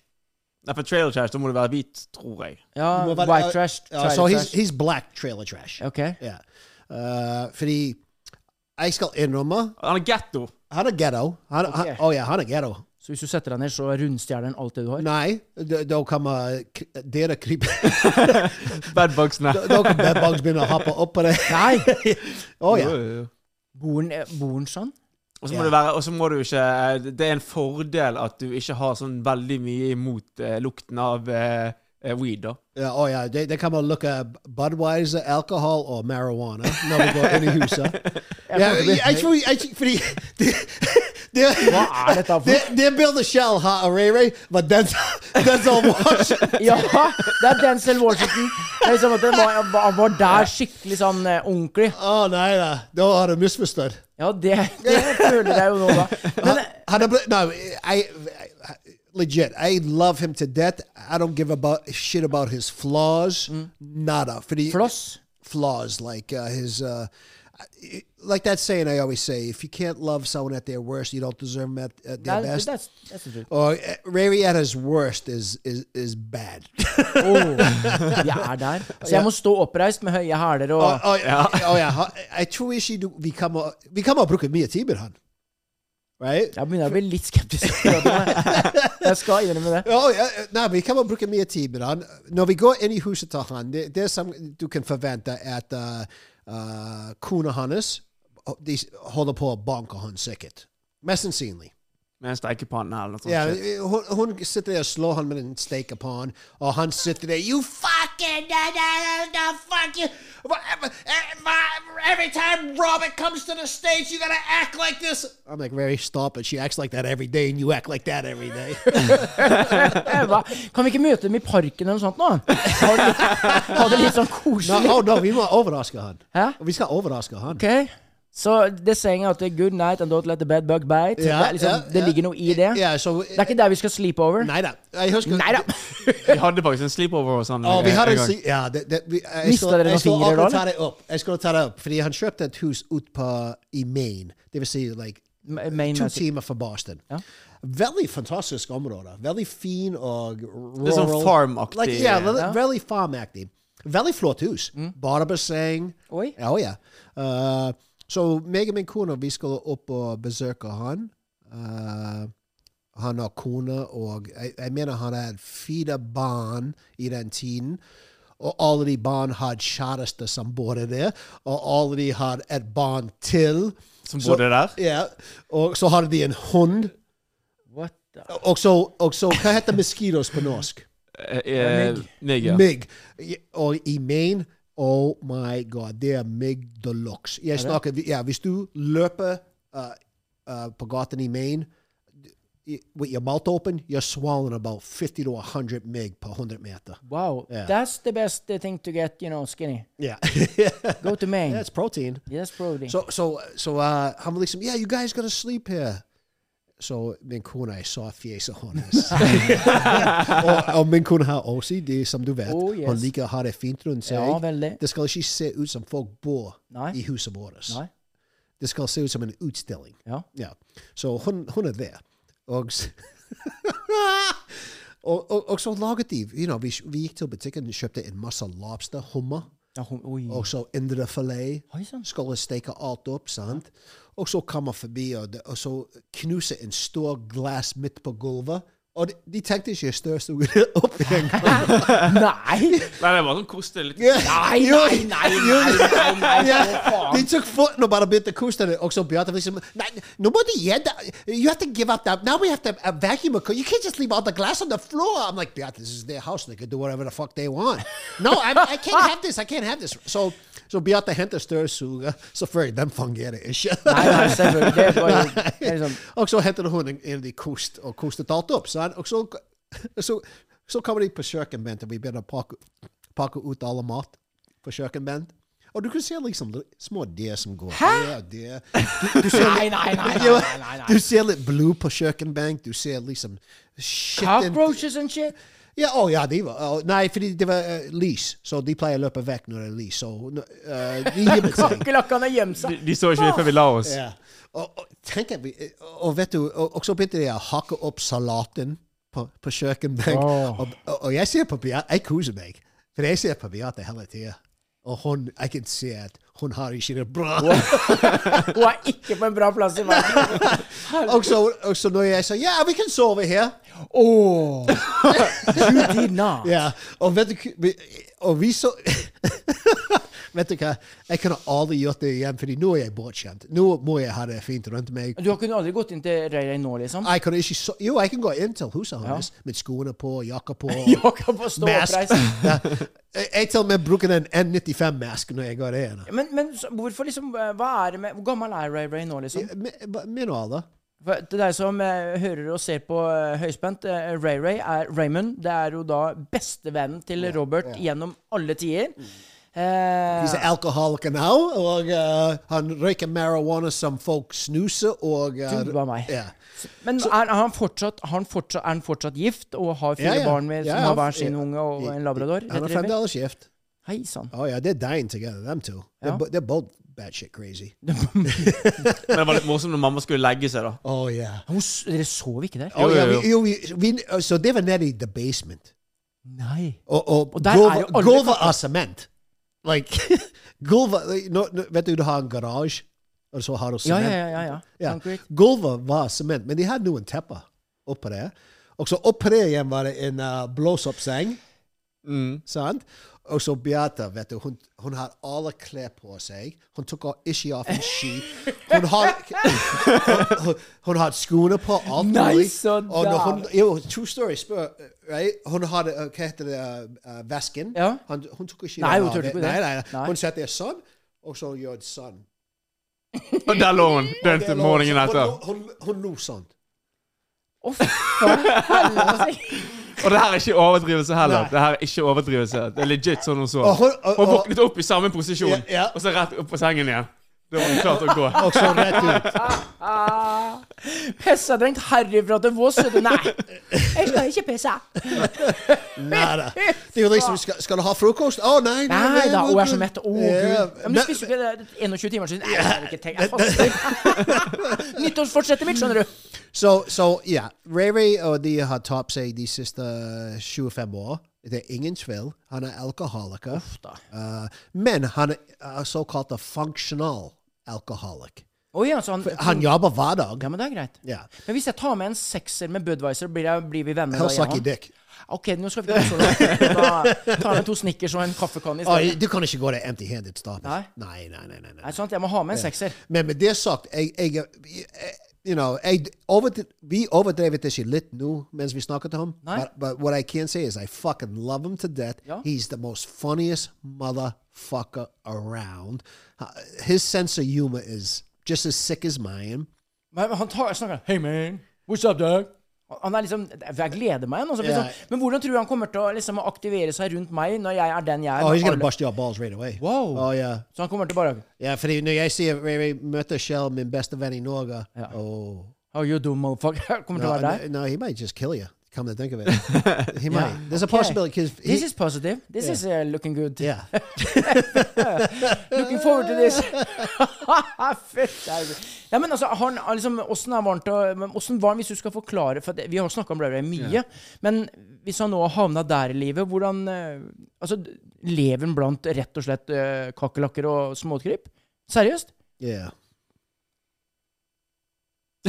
S5: Nei, for trailer trash, da må du være hvit, tror jeg.
S3: Ja,
S2: Må være-
S3: white Uh, trash.
S2: Ja,
S3: trailer
S2: uh, so he's,
S3: trash.
S2: he's black trailer trash.
S3: Ok.
S2: Ja. Eh, fordi jeg skal innrømme
S5: Han er getto.
S2: Han er ghetto. Han, han,
S3: Ok.
S2: å ja, han er ghetto.
S3: Så hvis du setter deg ned, så rundstjeler den alt det du har?
S2: Nei, da da kommer uh, k- dere krype
S5: Bedbugsene.
S2: Da da kan bedbugs begynne å hoppe opp på deg.
S3: Nei!
S2: Å ja.
S3: Bor den- bor den sånn?
S5: Og så
S2: Ja.
S5: må, du være- og så må du ikke eh, Det er en fordel at du ikke har sånn veldig mye imot eh, lukten av eh, eh, weed, da.
S2: Ja, å ja, de, de kommer til å lukke Budwiser, alkohol og marihuana når vi går inn i huset. Ja, jeg tror jeg, tror- Fordi det, det,
S3: Hva er dette for
S2: det, det bildet Shell har av Ray Ray, var den den som var-
S3: Ja! Det er Denzel Washington. Det er liksom at den var, han var- var der skikkelig sånn eh, ordentlig.
S2: Å nei da, da har du misforstått.
S3: Ja, det, det føler jeg jo nå, da. Men eh,
S2: Han, han er, ble- no, I, I, legit, I love him to death. I don't give about shit about his flaws. Nada. Fordi,
S3: floss?
S2: flaws like uh, his uh, like that saying I always say if you can't love someone at their worst you don't deserve them at, at their
S3: That,
S2: best
S3: that's, that's the truth.
S2: or uh, Ray at his worst is is is bad
S3: Oh, Åh, jeg er der. Så jeg må stå oppreist med høye hæler og
S2: Ah, oh, oh, yeah. oh yeah I- I tror ikke du, vi kommer vi kommer å bruke mye tid med han right?
S3: Jeg begynner å bli litt skeptisk. akkurat nå. Jeg skal innrømme det.
S2: Ja, ja, nei, vi kan bare bruke mye tid med han. Når vi går inn i huset til han, det, det er som du kan forvente at uh, uh, Oh, kona hans de holder på å banke han sikkert. Mest sannsynlig.
S5: Med en stekepanne eller noe sånt.
S2: Ja,
S5: Oh, shit.
S2: hun, eh, hun sitter der og slår han med en stekepann, og han sitter der You fucking da, da, da, da, fuck you. eh, Every time Robert comes to the stage, you gotta act like this. I'm like, Mary, stop it. She acts like that every day, and you act like that every day.
S3: Eva, Eh, kan vi ikke møte dem i parken eller noe sånt nå? Ha det litt, ha det litt sånn
S2: Nå,
S3: koselig.
S2: å, nå, vi må overraske han.
S3: Hæ?
S2: Vi skal overraske han.
S3: Ok. Så det saying at det er good night and don't let the bed bug bite.
S2: Ja,
S3: det, er liksom,
S2: ja,
S3: det
S2: ja.
S3: ligger noe i det.
S2: Ja, så,
S3: Det er ikke der vi skal sleep over.
S2: Nei da. Jeg husker
S3: Nei da.
S5: Vi hadde faktisk en sleepover hos han.
S2: Å, vi
S5: en-
S2: hadde
S5: en
S2: en
S5: gang.
S2: si- Ja, det, det, vi, jeg,
S3: Mistet
S2: skal-
S3: dere noen
S2: jeg skal
S3: fingre da,
S2: akkurat ta det opp. Jeg skal ta det opp. Fordi han kjøpte et hus ut på, i Maine. Det vil si like,
S3: M- Maine,
S2: to
S3: altså.
S2: timer fra Boston.
S3: Ja.
S2: Veldig fantastisk område. Veldig fin og rural.
S5: er sånn farmaktig.
S2: Like, ja,
S5: Ja. Mm.
S2: ve- veldig farmaktig. Veldig flott hus. Bare basseng.
S3: Oi.
S2: Ja, ja. Uh, så meg og min kone, vi skulle opp og besøke han. Uh, han har kone, og jeg, jeg mener han hadde fire barn i den tiden. Og alle de barn hadde kjæreste som bodde der, og alle de hadde et barn til.
S5: Som bodde der?
S2: Ja, og så hadde de en hund.
S3: What the?
S2: Og så, og så hva heter mosquitos på norsk?
S5: Eh,
S3: Mygg.
S5: Mygg, ja.
S2: Mygg. Og i Maine Oh my god, det er mygg de luxe. Jeg snakker, ja, hvis du løper uh, uh, på gaten i Maine i- with your mouth open, you're swallowing about 50 to 100 mygg per 100 meter.
S3: Wow.
S2: Yeah.
S3: That's the best thing to get, you know, skinny.
S2: Yeah.
S3: Go to Maine.
S2: That's protein.
S3: Yes, Brody.
S2: So, so, so uh, han var liksom, yeah, you guys gotta sleep here. Så min kone, jeg sa fjeset hans. og, og min kone har OCD, som du vet.
S3: Oh, yes.
S2: Hun liker å ha det fint rundt seg.
S3: Ja, veldig.
S2: Det skal ikke se ut som folk bor
S3: Nei.
S2: i huset vårt.
S3: Nei.
S2: Det skal se ut som en utstilling.
S3: Ja.
S2: Ja. Så hun, hun er der. Og, s- og, og, og så laget de you know, vi, vi gikk til butikken og kjøpte en masse lobster, hummer,
S3: Ja, hun- Oi.
S2: og så indrefilet.
S3: Oi sann.
S2: Skulle steke alt opp, sant? Og så kommer forbi, og, det- og så knuser en stor glass midt på gulvet. Og de, de tenkte ikke støvsugere opp engang.
S3: Nei!
S5: Nei, det var sånn koste litt.
S3: Nei, nei, nei, nei, nei, nei,
S2: Ja,
S3: for faen.
S2: de tok foten og bare begynte å kose det. Og så Bjarte liksom Nei, nå må du gi deg. You have to give up that. Now we have to uh, vacuum a co- You can't just leave all the glass on the floor. I'm like, Bjarte, this is their house. They can do whatever the fuck they want. No, I'm, I can't have this. I can't have this. Så så Bjarte henter støvsuger. Selvfølgelig, den fungerer ikke.
S3: Nei, nei, selvfølgelig. Det er bare det er liksom
S2: Og så hentet hun en, en de kost, og kostet alt opp. Sant? Og så, så, så kommer de på kjøkkenbenken, og vi begynner å pakke, pakke ut alle mat på kjøkkenbenken. Og du kan se liksom de små dyr som går Hæ? der. Du, du ser
S3: Nei,
S2: litt-
S3: nei, nei,
S2: Ja,
S3: nei, nei, nei.
S2: Du ser litt blod på kjøkkenbenk. Du ser liksom skitten-
S3: Cockroaches and shit.
S2: Ja, å ja, de var å, Nei, fordi det var eh, lys, så de pleier å løpe vekk når det er lys. Så eh, de gjemmer seg.
S3: Kakerlakkene gjemmer
S5: De,
S3: seg.
S5: de så ikke det før vi la oss.
S2: Ja. Og, og, tenk at vi, og vet du, og, og så begynte de å hakke opp salaten på, på kjøkkenbenken.
S3: Åh.
S2: Og, og, og jeg ser på Beate, jeg koser meg, for jeg ser på Beate hele tida. Og hun, jeg kan se at hun har ikke det bra.
S3: Hun er ikke på en bra plass i verden.
S2: og, så, og så når jeg sier 'ja, vi kan sove her',
S3: Oh. You did not.
S2: ja, og vet du hva- vi- Og vi så Vet du hva, jeg kunne aldri gjort det igjen, Fordi nå er jeg bortskjemt. Nå må jeg ha det fint rundt meg.
S3: Du har kunne aldri gått inn til Røyrøy nå, liksom?
S2: Jeg kunne ikke so jo, jeg kan gå inn til huset hans med skoene på, jakka på.
S3: Jeg kan bare stå
S2: Mask.
S3: oppreist.
S2: ja. Jeg jeg til og med bruker den N95-masken når jeg går inn.
S3: Men, men så, hvorfor liksom eh, Hva er det med Hvor gammel er Ray Ray nå, liksom?
S2: Min- Min alder.
S3: For til deg som eh, hører og ser på eh, høyspent, eh, Ray Ray er Raymond. Det er jo da bestevennen til Robert gjennom alle tider.
S2: Mm.
S3: Eh,
S2: He's an alcoholic now, og uh, han røyker marijuana som folk snuser, og uh,
S3: Du var meg.
S2: Ja.
S3: men er, er, han fortsatt, har han fortsatt, er han fortsatt gift og har fire
S2: Ja, ja.
S3: barn med,
S2: Ja,
S3: som har
S2: han-
S3: hver sin
S2: ja.
S3: unge og en labrador?
S2: Han har
S3: retriever?
S2: fremdeles gift.
S3: Hei sann.
S2: Oh, yeah, they're dying together, them two. They're,
S3: Ja.
S2: bo- they're both batshit crazy.
S5: Men det var litt morsomt når mamma skulle legge seg, da.
S2: Oh, yeah.
S3: Hun s- Dere sov ikke der?
S2: Oh,
S5: Jo, jo,
S2: yeah.
S5: jo.
S2: Vi, jo, vi, vi, så det var nede i the basement.
S3: Nei.
S2: Og, og,
S3: Og der er
S2: gulvet-
S3: jo alle
S2: gulvet
S3: katter.
S2: er sement. Like, gulvet like, nå- nå- Vet du, du har en garasje. Og så har du
S3: Ja,
S2: sement.
S3: ja, ja. ja, ja. Concrete.
S2: Gulvet var sement, men de hadde noen tepper oppå det. Og så oppå det igjen var det en uh, blås-opp-seng.
S3: Mm.
S2: Sant? Og så Beate, vet du, hun, hun har alle klær på seg. Hun tok av- ikke av en ski. Hun har, hun, hun, hun har skoene på alt
S3: Nei,
S2: mulig.
S3: så
S2: Og når hun,
S3: der.
S2: jo, true story, spør, right? Hun hadde, uh, hva heter det, uh, uh, vesken.
S3: Ja.
S2: Han, hun tok ikke
S3: Nei,
S2: den
S3: hun turte
S2: av.
S3: ikke det.
S2: Nei, nei, nei.
S3: Nei.
S2: Hun satt der sånn, og så gjorde sånn.
S5: Og der lå hun den til morgenen etter.
S2: Hun, hun, hun lo sånn.
S3: Å, faen.
S5: Og det her er ikke overdrivelse heller. Det her er ikke overdrivelse. Det er legit sånn hun så.
S2: Og hun- og-
S5: Hun
S2: og-
S5: våknet opp i samme posisjon,
S2: Ja, ja.
S5: og så rett opp på sengen igjen. Da var hun klar til å gå.
S2: Og så rett ut.
S3: Pissa drengt harry fra til Voss, vet du. Nei. Jeg skal ikke pisse.
S2: Nada. Det er jo liksom, skal, skal du ha frokost? Å, nei, nei.
S3: Nei
S2: nei,
S3: da,
S2: nei,
S3: hun er så
S2: nei.
S3: mett. Å, gud.
S2: Ja,
S3: Ja, Men du spiste jo ikke det 21 timer siden. Nei, jeg har ikke tenkt. Jeg faster. Nyttårsfortsettet mitt, skjønner du.
S2: Så, så ja, Ray Ray og de har tapt seg de siste 25 år. Det er ingen tvil. Han er alkoholiker. Eh, men han er såkalt funksjonal alkoholiker.
S3: Å ja, så han,
S2: Han jobber hver dag.
S3: Ja, men det er greit.
S2: Ja.
S3: Men hvis jeg tar med en sekser med Budwiser, blir, jeg, blir vi venner da
S2: Hell suck your
S3: igjennom?
S2: dick.
S3: Ok, nå skal vi ikke gå så langt. Da tar jeg med to Snickers og en kaffekanne i
S2: Å,
S3: stedet.
S2: du kan ikke gå der empty-handed. Stop.
S3: Nei.
S2: Nei, nei, nei, nei, nei.
S3: Nei, sant? Jeg må ha med en sekser.
S2: Men med det sagt, jeg, jeg, jeg, you know, jeg overdri, vi overdrevet ikke litt nå mens vi snakket om ham.
S3: Nei.
S2: But, but what I can say is I fucking love him to death.
S3: Ja.
S2: He's the most funniest motherfucker around. Uh, His sense of humor is just as sick as mine.
S3: Men han tar, snakker Hey man, what's up dog? Han er liksom, Jeg gleder meg. nå, så
S2: Ja.
S3: Liksom, men hvordan tror du han kommer til å liksom, aktivere seg rundt meg når jeg er den jeg er?
S2: Oh, he's
S3: med
S2: gonna
S3: alle?
S2: bust your balls right away.
S3: Wow.
S2: Oh yeah.
S3: Så han kommer til bare
S2: Yeah, fordi når jeg ser Ray Ray møter Shell, min beste venn i Norge oh.
S3: Oh, you dumb motherfucker. Kommer til
S2: no,
S3: å være der.
S2: no, no, he might just kill you. Come to think of it, he might. There's a
S3: Okay.
S2: possibility because
S3: This is positive. This is uh, looking good.
S2: yeah.
S3: Looking forward to this. Fett. Ja, men altså, han, er liksom, hvordan er varmt å, men hvordan var han hvis du skal forklare For at vi har snakka om Blaubær mye. Men hvis han nå har havna der i livet, hvordan eh, Altså, lever han blant rett og slett eh, kakerlakker og småkryp? Seriøst?
S2: Yeah.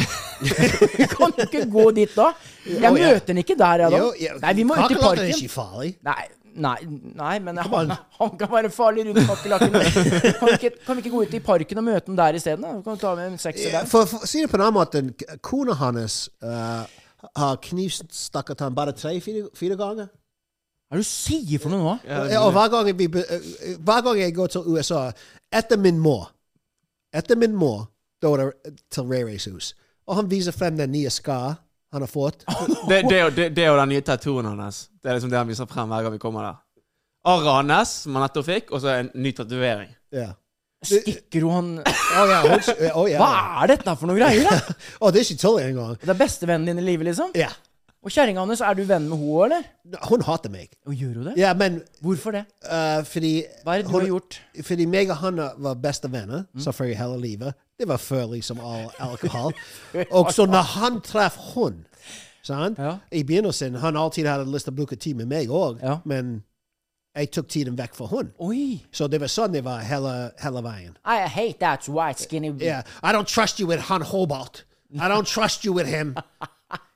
S3: Kan du ikke gå dit da? Jeg
S2: Å, ja.
S3: møter han ikke der, jeg, da.
S2: Jo, ja,
S3: Nei, vi må ut i
S2: kakerlakker er
S3: parken.
S2: ikke farlig.
S3: Nei, nei, nei men
S2: on.
S3: han, han kan være farlig rundt kakerlakken. Kan, vi ikke- kan vi ikke gå ut i parken og møte han der isteden? da? Kan vi ta med en sekser der?
S2: For, for, si det på en annen måte. k- Kona hans eh, har knivstukket han bare tre-fire fire ganger.
S3: Hva er det du sier for noe nå?
S2: Ja, og hver gang, vi, be- eh, hver gang jeg går til USA Etter min mor Etter min mor drar det til Rares hus. Og han viser frem den nye skar han har fått.
S5: Det, det, er jo- det, det er jo den nye tattooen hans. Det er liksom det han viser frem hver gang vi kommer der. Arret hans, som han nettopp fikk, og så en ny tatovering.
S2: Ja.
S3: Stikker hun han
S2: Å ja. Hun, s- å,
S3: Hva
S2: ja.
S3: er dette for noe greier, da?
S2: Å, det er ikke tull engang.
S3: Det er bestevennen din i livet, liksom?
S2: Ja.
S3: Og kjerringa hans, er du venn med henne, eller?
S2: Hun hater meg.
S3: Og gjør hun det?
S2: Ja, men
S3: Hvorfor det?
S2: eh, fordi
S3: Hva er det du
S2: hun-
S3: har gjort?
S2: Fordi meg og han var beste venner, så for i hele livet. Det var før liksom all alkohol. og så når han traff hun, sant?
S3: Ja.
S2: I begynnelsen, han alltid hadde lyst til å bruke tid med meg òg,
S3: Ja.
S2: men jeg tok tiden vekk fra hun.
S3: Oi!
S2: Så det var sånn det var hele, hele veien.
S3: I hate that white skinny
S2: Yeah. I don't trust you with Han Hobart. I don't trust you with him.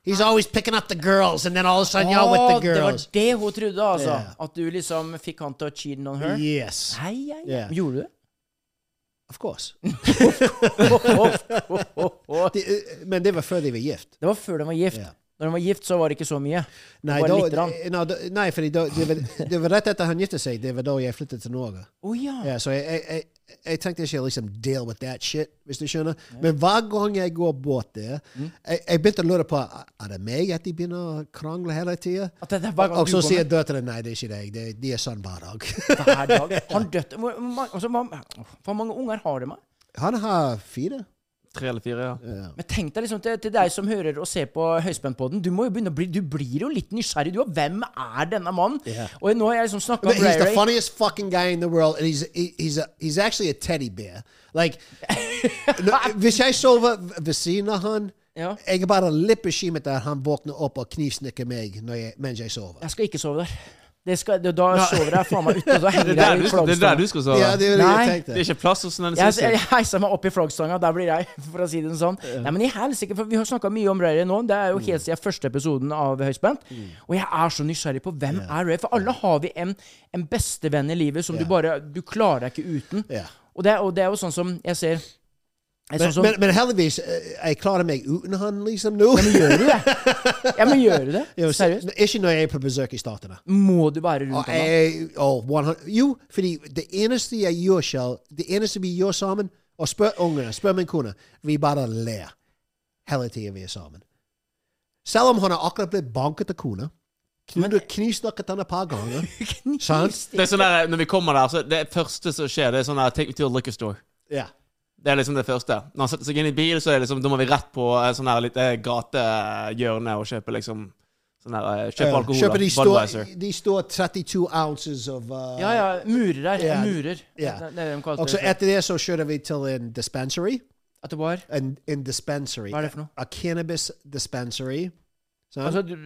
S2: He's always picking up the girls, and then all of a sudden you're
S3: Å,
S2: with the
S3: det var
S2: girls.
S3: det hun trodde, altså.
S2: Ja.
S3: At du liksom fikk han til å cheat on her.
S2: Yes.
S3: Nei, ja, ja.
S2: Ja.
S3: Gjorde du det?
S2: Of course.
S3: Ho, ho, ho.
S2: Det, eh, men det var før de var gift.
S3: Det var før de var gift.
S2: Ja.
S3: Når de var gift, så var det ikke så mye.
S2: Nei,
S3: Bare
S2: da,
S3: lite grann.
S2: eh, no, da, nei fordi da, det, var, det var rett etter han giftet seg, det var da jeg flyttet til Norge.
S3: Å ja.
S2: Ja, så jeg, jeg, jeg, jeg tenkte ikke liksom deal with that shit, hvis du skjønner. Men hver gang jeg går bort der,
S3: Mm.
S2: jeg, jeg begynte å lure på er det meg at de begynner å krangle hele tida.
S3: At det, det, er hver gang
S2: Og
S3: du
S2: så
S3: går
S2: sier
S3: med-
S2: døtrene nei, det er ikke deg, det, de er sånn hver dag.
S3: hver dag. Han døtt hvor, hvor- altså, hva- hvor mange unger har de? da?
S2: Han har fire.
S5: Tre eller fire, ja.
S2: Ja.
S3: Men tenk deg liksom til, til deg som hører og ser på Høyspentpodden. Du må jo begynne å bli Du blir jo litt nysgjerrig, du. Og hvem er denne mannen?
S2: Ja.
S3: Og nå har jeg liksom snakka
S2: But
S3: om
S2: he's the
S3: Ray Ray.
S2: funniest fucking guy in the world, and he's he, he's a, he's actually a teddy bear. Like, no, hvis jeg sover ved siden av han,
S3: Ja.
S2: jeg er bare litt bekymret at han våkner opp og knivsnikker meg når jeg, mens jeg sover.
S3: Jeg skal ikke sove der. Det skal, da- da
S5: Nei.
S3: sover jeg faen meg ute, og så
S5: Det
S3: henger
S5: er der
S3: jeg
S5: du, det er
S3: i
S5: der
S3: flagstanga.
S5: du skal sove.
S2: Ja, det er det jeg
S3: Nei.
S2: tenkte.
S5: Det er ikke plass hos den
S3: Jeg, jeg
S5: siste.
S3: heiser meg opp i flaggstanga, der blir jeg, for å si det sånn. Nei, men i helsike, for vi har snakka mye om Ray Ray nå. Det er jo
S2: Mm.
S3: helt siden første episoden av Høyspent. Og jeg er så nysgjerrig på hvem er Ray, for alle har vi en, en bestevenn i livet som
S2: Ja.
S3: du bare Du klarer deg ikke uten.
S2: Ja.
S3: Og, det, er- og det er jo sånn som jeg ser jeg
S2: Men,
S3: sånn som,
S2: men, men heldigvis, eh, jeg klarer meg uten han, liksom, nå.
S3: Gjør du det? Ja, men gjør du det?
S2: Jo, s-
S3: Seriøst?
S2: Ikke når jeg er på besøk i Statene.
S3: Må du være rundt
S2: Og
S3: ham? da?
S2: jeg, og 100, jo, fordi det eneste jeg gjør selv, det eneste vi gjør sammen, og spør ungene, spør min kone, vi bare ler hele tiden vi er sammen. Selv om han har akkurat blitt banket av kona, knud- knivstukket han et par ganger. sant?
S5: Det er sånn der, når vi kommer der, så det første som skjer, det er sånn der Take me to a liquor store.
S2: Ja.
S5: Det er liksom det første. Når han setter seg inn i bil, så er det liksom, da må vi rett på eh, sånn her lite gatehjørne og kjøpe liksom sånn her, eh, Kjøpe
S2: Ja,
S5: alkohol.
S2: Kjøper de
S5: da.
S2: Uh, store,
S5: Budweiser.
S2: de store 32 ounces of uh, Oh,
S3: Ja, ja. Murer her.
S2: Ja.
S3: Murer.
S2: Ja.
S3: Det, det er det de kaller
S2: Og så
S3: det.
S2: etter det så kjører vi til en dispensary.
S3: At det var
S2: En, en dispensary.
S3: Hva er det for noe?
S2: A cannabis dispensary. Sant?
S3: altså, du-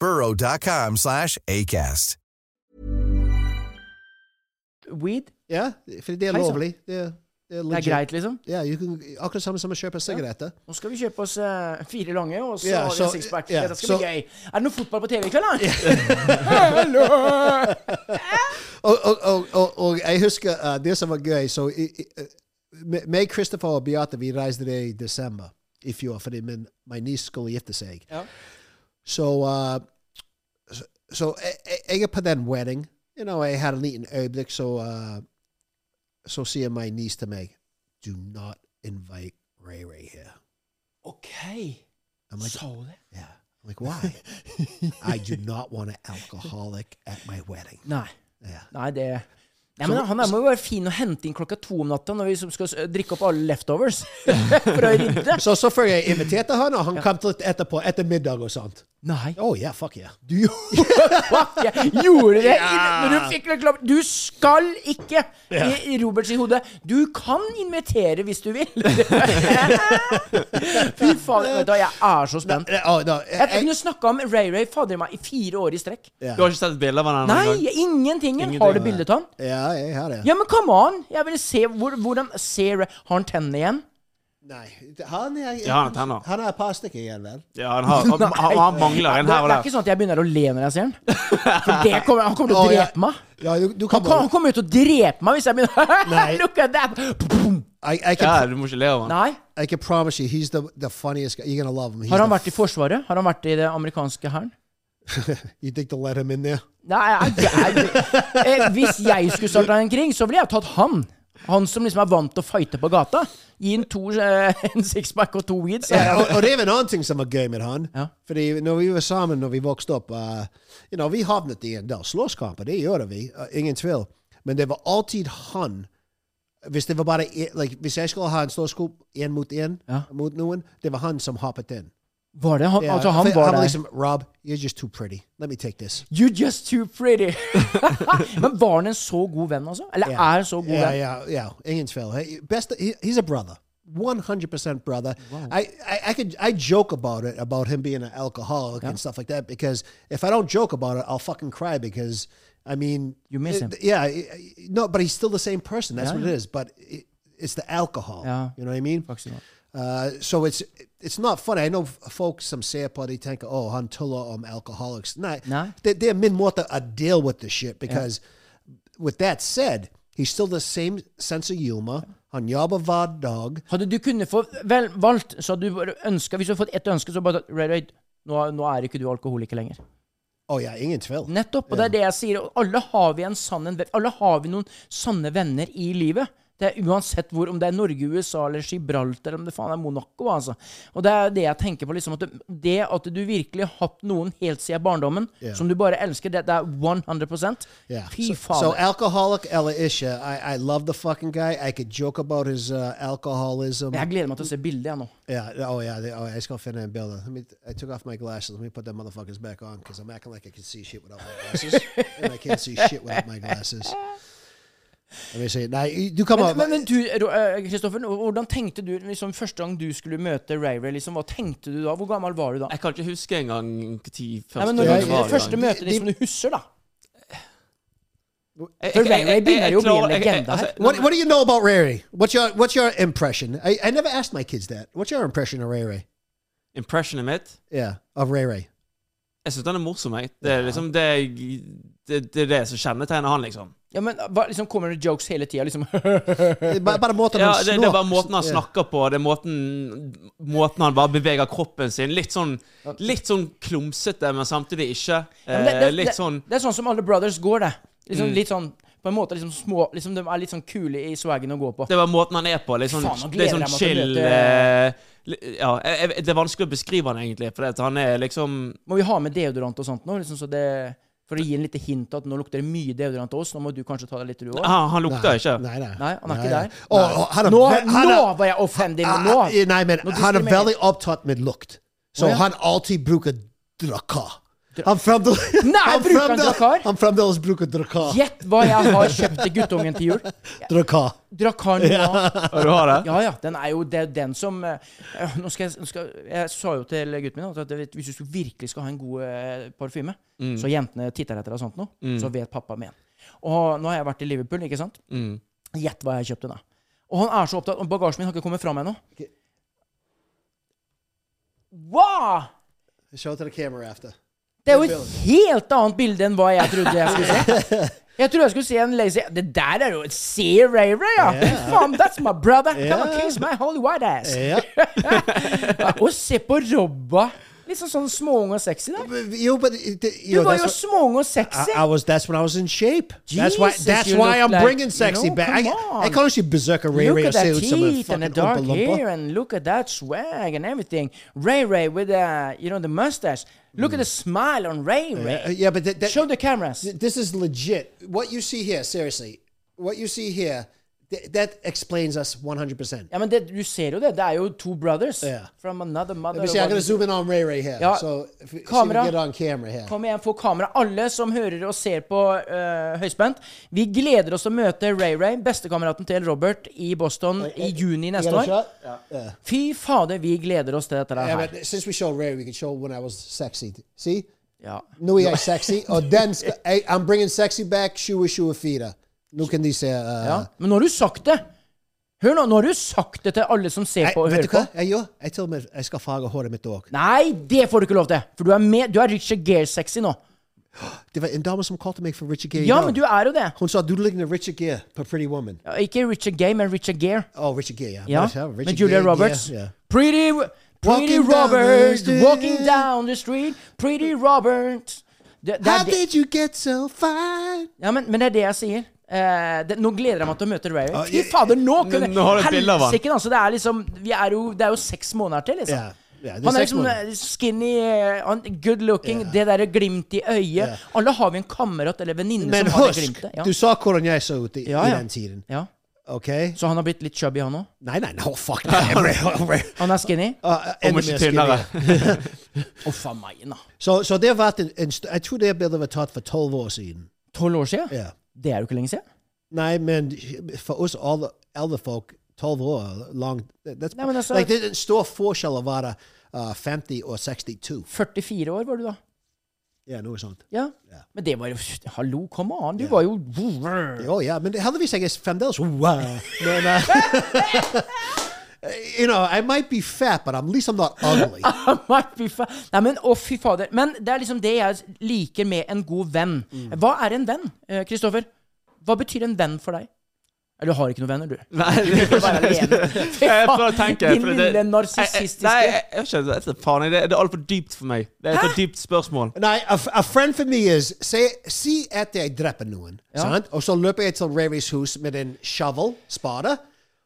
S6: burrow.com slash ACAST.
S3: weed?
S2: Ja, for det er
S3: Hei sann.
S2: lovlig. Det er, det er
S3: Det
S2: legit.
S3: er greit, liksom?
S2: Ja, you can, akkurat samme som å kjøpe sigaretter.
S3: Nå skal vi kjøpe oss eh, fire lange, og så
S2: Ja,
S3: har vi
S2: så-
S3: en sixpack.
S2: ja,
S3: Dette skal
S2: så-
S3: bli gøy. Er det noe fotball på TV i kveld, da? Hallo!
S2: Og, og, og, og, og jeg husker uh, det som var gøy. Så i, i, uh, me- meg, Christopher og Beate vi reiste det i desember i fjor fordi min, min niece skulle gifte seg.
S3: Ja.
S2: Så, uh, så, så jeg, jeg- jeg er på den wedding. You know, jeg hadde en liten øyeblikk, så, uh, så sier min niece til meg Do not invite Ray Ray here.
S3: OK.
S2: I'm like,
S3: Sa hun det?
S2: yeah. I'm like, why? I do not want an alcoholic at my wedding.
S3: Nei.
S2: Yeah.
S3: Nei, det Nei, men Han er må jo være fin å hente inn klokka to om natta når vi liksom skal eh, drikke opp alle leftovers. For å rydde.
S2: Så selvfølgelig jeg inviterte han, og han kom til etterpå, etter middag og sånt.
S3: Nei.
S2: Oh yeah, fuck yeah.
S3: Du Fuck, jeg gjorde det inn- når du fikk reklame. Du skal ikke i i Roberts i hodet. Du kan invitere hvis du vil. Fy faen. Vet du, hva, jeg er så spent.
S2: Eh, oh, no, eh,
S3: Jeg
S2: eh,
S3: kunne snakka om Ray Ray fader meg i fire år i strekk.
S5: Du har ikke sett et bilde av han
S3: Nei,
S5: engang?
S3: ingenting! Har du bildet av han?
S2: ja, jeg har det.
S3: Ja, men come on! Jeg vil se hvor, hvordan ser Ray Har han tennene igjen?
S2: Nei, han er
S5: Ja, han har tenner.
S2: Han har et par stykker igjen, vel.
S5: Ja, han, har, han, han, han mangler en
S3: det,
S5: her og
S3: er- det er
S5: der.
S3: ikke sånn at jeg begynner å le når jeg ser han. For det kommer, han kommer til å
S2: Å, ja.
S3: drepe meg.
S2: Ja, du, du
S3: Han,
S2: kan
S3: kan- han kommer jo til å drepe meg hvis jeg
S2: Nei.
S3: begynner Look at that! Boom.
S2: I, I,
S5: Ja,
S2: can,
S5: du må ikke le av han.
S3: Nei.
S2: I can promise you, he's the, the funniest guy. You're gonna love him. He's
S3: Har han
S2: the-
S3: vært i Forsvaret? Har han vært i det amerikanske hæren?
S2: You think they'll let him in there?
S3: Nei, jeg, jeg, eh, hvis jeg skulle starta en krig, så ville jeg tatt han. Han som liksom er vant til å fighte på gata. Gi en to, eh, en sixpack og to weeds.
S2: Ja, og, og det er en annen ting som var gøy med han.
S3: Ja.
S2: Fordi når vi var sammen når vi vokste opp eh, you know, Vi havnet i en del slåsskamper, det gjorde vi. eh, ingen tvil. Men det var alltid han Hvis det var bare en- like, Hvis jeg skulle ha en slåsskamp én mot én
S3: Ja.
S2: mot noen, det var han som hoppet inn.
S3: Var det han?
S2: Ja,
S3: altså,
S2: for
S3: han var der.
S2: liksom Rob, you're just too pretty. Let me take this.
S3: You're just too pretty. Men var han en så god venn, altså? Eller
S2: Ja.
S3: er han så god
S2: Ja,
S3: venn?
S2: ja, ja. Ingen tvil. He- Best, he- he's a brother. 100% brother. I, I, I could I joke about it about him being an alcoholic and stuff like that because if I don't joke about it, I'll fucking cry because I mean
S3: You miss him.
S2: Yeah, I- I- no, but he's still the same person. That's
S3: Yeah,
S2: what
S3: yeah.
S2: it is. But it, it's the alcohol.
S3: Yeah.
S2: You know what I mean?
S3: Faktisk, ja.
S2: Uh, so it's it's not funny. I know f- folks some say it, but they think, oh, until um, alcoholics. Nah,
S3: No.
S2: They, they're men more to uh, deal with the shit because with that said, he's still the same sense of humor. Han jobber hver dag.
S3: Hadde du kunnet få vel, valgt, så hadde du bare ønsket, Hvis du hadde fått ett ønske, så bare tatt, Ray Ray, nå, nå er ikke du alkoholiker lenger.
S2: Å ja, ingen tvil.
S3: Nettopp. Og det er det jeg sier. og Alle har vi en sann en venn. Alle har vi noen sanne venner i livet. Det er Uansett hvor, om det er Norge, USA eller Gibraltar eller om det faen er Monaco. altså. Og det er det jeg tenker på. liksom, at Det, det at du virkelig har hatt noen helt siden barndommen
S2: Ja.
S3: som du bare elsker, det, det er 100
S2: Yeah.
S3: Fy
S2: so,
S3: faen.
S2: so alcoholic Ella Isha, I, I love the fucking guy. I could joke about his uh, alcoholism.
S3: jeg gleder meg til å se bildet, jeg nå.
S2: Yeah. Oh yeah. They, oh, I just got fit in building. Let me. I took off my glasses. Let me put them motherfuckers back on because I'm acting like I can see shit without my glasses, and I can't see shit without my glasses. Let me see. Now you do come
S3: Men,
S2: up.
S3: men, men du, Ro- eh, Kristoffer, hvordan tenkte du liksom, første gang du skulle møte Ray Ray? Liksom, hva tenkte du da? Hvor gammel var du da?
S5: Jeg kan ikke huske engang når
S3: Nei,
S5: første gang
S3: men når
S2: Ja,
S3: du,
S5: det var.
S2: ja.
S3: første
S5: engang.
S3: møte de, som du husker, da.
S5: Jeg-
S3: For
S5: jeg-
S3: Ray Ray
S5: jeg-
S3: begynner
S5: jeg
S3: jo å bli en
S5: klarer- jeg- jeg-
S3: legende her.
S5: altså,
S2: what What do you know about Ray Ray? What's your What's your impression? I, I never asked my kids that. What's your impression of Ray Ray?
S5: Impressionet mitt
S2: Yeah, of Ray Ray.
S5: Jeg syns den er morsom, jeg. Det er liksom det, jeg- det, det er det som kjennetegner han, liksom.
S3: Ja, men hva, liksom Kommer det jokes hele tida? Liksom.
S2: Eh, But, but more than
S5: Ja, det, det er bare
S2: snor-
S5: måten han
S2: yeah.
S5: snakker på, det er måten, måten han bare beveger kroppen sin. Litt sånn, litt sånn klumsete, men samtidig ikke.
S3: Ja, men det, det,
S5: Eh, litt
S3: det,
S5: sånn Mm.
S3: det er sånn som alle brothers går, det. Liksom, Litt sånn på en måte liksom små liksom, De er litt sånn kule i swaggen å gå på.
S5: Det var måten han er på. Litt sånn,
S3: Faen, nå gleder
S5: litt sånn
S3: jeg meg til å
S5: chill
S3: møte-
S5: eh, li- Ja, jeg, jeg- det er vanskelig å beskrive han egentlig, for at han er liksom
S3: Må vi ha med deodorant og sånt nå? Liksom, så det, for å gi en lite hint at nå lukter det mye deodorant til oss. Nå må du kanskje ta deg litt, du òg.
S5: Han, han lukter ikke.
S2: Nei, nei.
S3: Nei, han er ikke der.
S2: Å, å, han er
S3: Nå,
S2: ve- han
S3: nå
S2: er-
S3: var jeg offended!
S2: Ah,
S3: Nå!
S2: eh, Nei, men han er
S3: diskriminerer-
S2: veldig opptatt med lukt. Så
S3: Å, ja.
S2: han alltid bruker drakar. Han fremdeles
S3: Nei, bruker han
S2: fremdeles-
S3: drakar?
S2: Han fremdeles bruker drakar.
S3: Gjett hva jeg har kjøpt til guttungen til jul.
S2: Drakar.
S3: Drakkar nå.
S5: Ja, du har det?
S3: Ja, ja. Den er jo det, er den som eh, nå skal jeg, nå skal, jeg sa jo til gutten min at det- hvis du skulle- virkelig skal ha en god eh, parfyme,
S5: Mm.
S3: så jentene titter etter deg og sånt nå, så vet pappa med en. Og nå har jeg vært i Liverpool, ikke sant?
S5: Mm.
S3: Gjett hva jeg kjøpte da. Og han er så opptatt, og bagasjen min har ikke kommet fram ennå. Wow!
S2: Show it to the camera after.
S3: Det er jo et helt annet bilde enn hva jeg trodde jeg skulle se. Jeg trodde jeg skulle se en lazy Det der er jo et Sea Ray Ray, ja! Fy faen, that's my brother! Come on, kiss my holy white ass!
S2: Ja.
S3: Og se på Robba! Litt sånn, sånn småung og sexy, da.
S2: You, but it- it-
S3: Du
S2: you know,
S3: var jo
S2: that's
S3: småung og
S2: what,
S3: sexy!
S2: I, I was. That's when I was in shape. that's why.
S3: Jesus,
S2: That's
S3: you
S2: why
S3: look
S2: I'm
S3: like-
S2: bringing sexy
S3: No,
S2: back. I,
S3: come on.
S2: I can't see Berserker Ray
S3: Look
S2: Ray or
S3: at that
S2: say some of the
S3: teeth and the
S2: fucking
S3: dark
S2: Oompa Loompa.
S3: hair, and look at that swag and everything. Ray Ray with uh, you know the mustache. Look at the smile on Ray Ray.
S2: Uh, yeah, but that, that,
S3: Show the cameras.
S2: th- this is legit. What you see here, seriously, what you see here, th- that explains us 100%.
S3: Ja, men det, Du ser jo det. Det er jo to brothers
S2: Ja.
S3: from another mother.
S2: Let me see. I'm
S3: one-
S2: going to zoom in on Ray Ray here.
S3: Yeah.
S2: So if we, see if we
S3: Camera.
S2: get on camera here.
S3: Kom igjen, få kamera. Alle som hører og ser på eh, Høyspent, vi gleder oss til å møte Ray Ray, bestekameraten til Robert, i Boston i juni
S2: You
S3: neste
S2: got a
S3: år.
S2: shot? Yeah.
S3: Fy fader, vi gleder oss til dette der her.
S2: but since we showed Ray, we could show when I was sexy. See?
S3: Ja.
S2: Nui I sexy. Or then sc- I, I'm bringing sexy back. Shua Shua Fida. Nu can these.
S3: Ja.
S2: Uh,
S3: Men nå har du sagt det! Hør nå, nå har du sagt det til alle som ser
S2: I,
S3: på og
S2: vet du
S3: hører på.
S2: hva? Jeg gjør? Jeg til og med jeg skal farge håret mitt òg.
S3: Nei, det får du ikke lov til! For du er, med, du er Richard Gere-sexy nå.
S2: Det var en dame som kalte meg for Richard Gere. i
S3: Ja,
S2: dag.
S3: men du er jo det.
S2: Hun sa du ligner Richard Gere på Pretty Woman.
S3: Ja, Ikke Richard Gay, men Richard Gere.
S2: Oh, Richard Gere, ja.
S3: Ja,
S2: Richard
S3: med Julia
S2: Gere,
S3: Roberts.
S2: yeah, yeah.
S3: Pretty, pretty
S2: Walking down the
S3: Roberts,
S2: street.
S3: walking down the street, pretty Robert. Det, det er
S2: How
S3: det-
S2: did you get so fine?
S3: Ja, men, men det er det jeg sier. Eh, det, nå gleder jeg meg til å møte Ray. Fy
S2: jeg-
S3: fader, nå kunne
S5: Nå har du et bilde av han.
S3: Helsike, altså, det, er liksom, vi er jo, det er jo seks måneder til, liksom.
S2: Ja, ja, det er
S3: han er
S2: seks
S3: liksom
S2: måneder.
S3: eh, skinny, eh, han- good looking, det derre glimt i øyet. Alle har vi en kamerat eller venninne
S2: Men
S3: som har det
S2: husk,
S3: glimtet. Ja.
S2: du sa hvordan jeg så ut i,
S3: Ja,
S2: i
S3: ja.
S2: den tiden.
S3: ja.
S2: Ok?
S3: Så han har blitt litt chubby, han òg?
S2: Nei, nei, no, fuck that.
S3: Han er skinny? Å,
S2: Ah,
S5: Om ikke tynnere.
S3: faen meg, da.
S2: Så, så det har vært en, en st- Jeg tror det er bildet var tatt for tolv år siden.
S3: Tolv år siden?
S2: Ja.
S3: Det er jo ikke lenge siden.
S2: Nei, men for oss alle, eldre folk, tolv år lang that's,
S3: Nei, men altså-
S2: like, Det er en stor forskjell å være uh, 50 og 62.
S3: 44 år var du da.
S2: Ja, noe sånt.
S3: Ja. Men det var jo Hallo, come on! Du var jo
S2: Oh, Jo, ja, men heldigvis jeg er fremdeles wow. Men, uh, you know, I might be fat, but at least I'm not ugly.
S3: Han var- fy fa- Nei, men å, fy fader. Men det er liksom det jeg liker med en god venn.
S5: Mm.
S3: Hva er en venn, eh, Kristoffer? Hva betyr en venn for deg? Eller du har ikke noen venner, du.
S5: Nei, jeg
S3: Du er bare alene. Fy
S5: prøver å
S3: faen,
S5: tenke.
S3: Din
S5: for
S3: lille
S5: jeg- jeg-
S3: narsissistiske
S5: Nei, jeg, jeg, jeg, jeg, jeg, faen, det, det er altfor dypt for meg. Det er et for dypt spørsmål.
S2: Nei, a, a friend for me is Si, si at jeg dreper noen, sant? og så løper jeg til Rarys hus med en shovel, spade,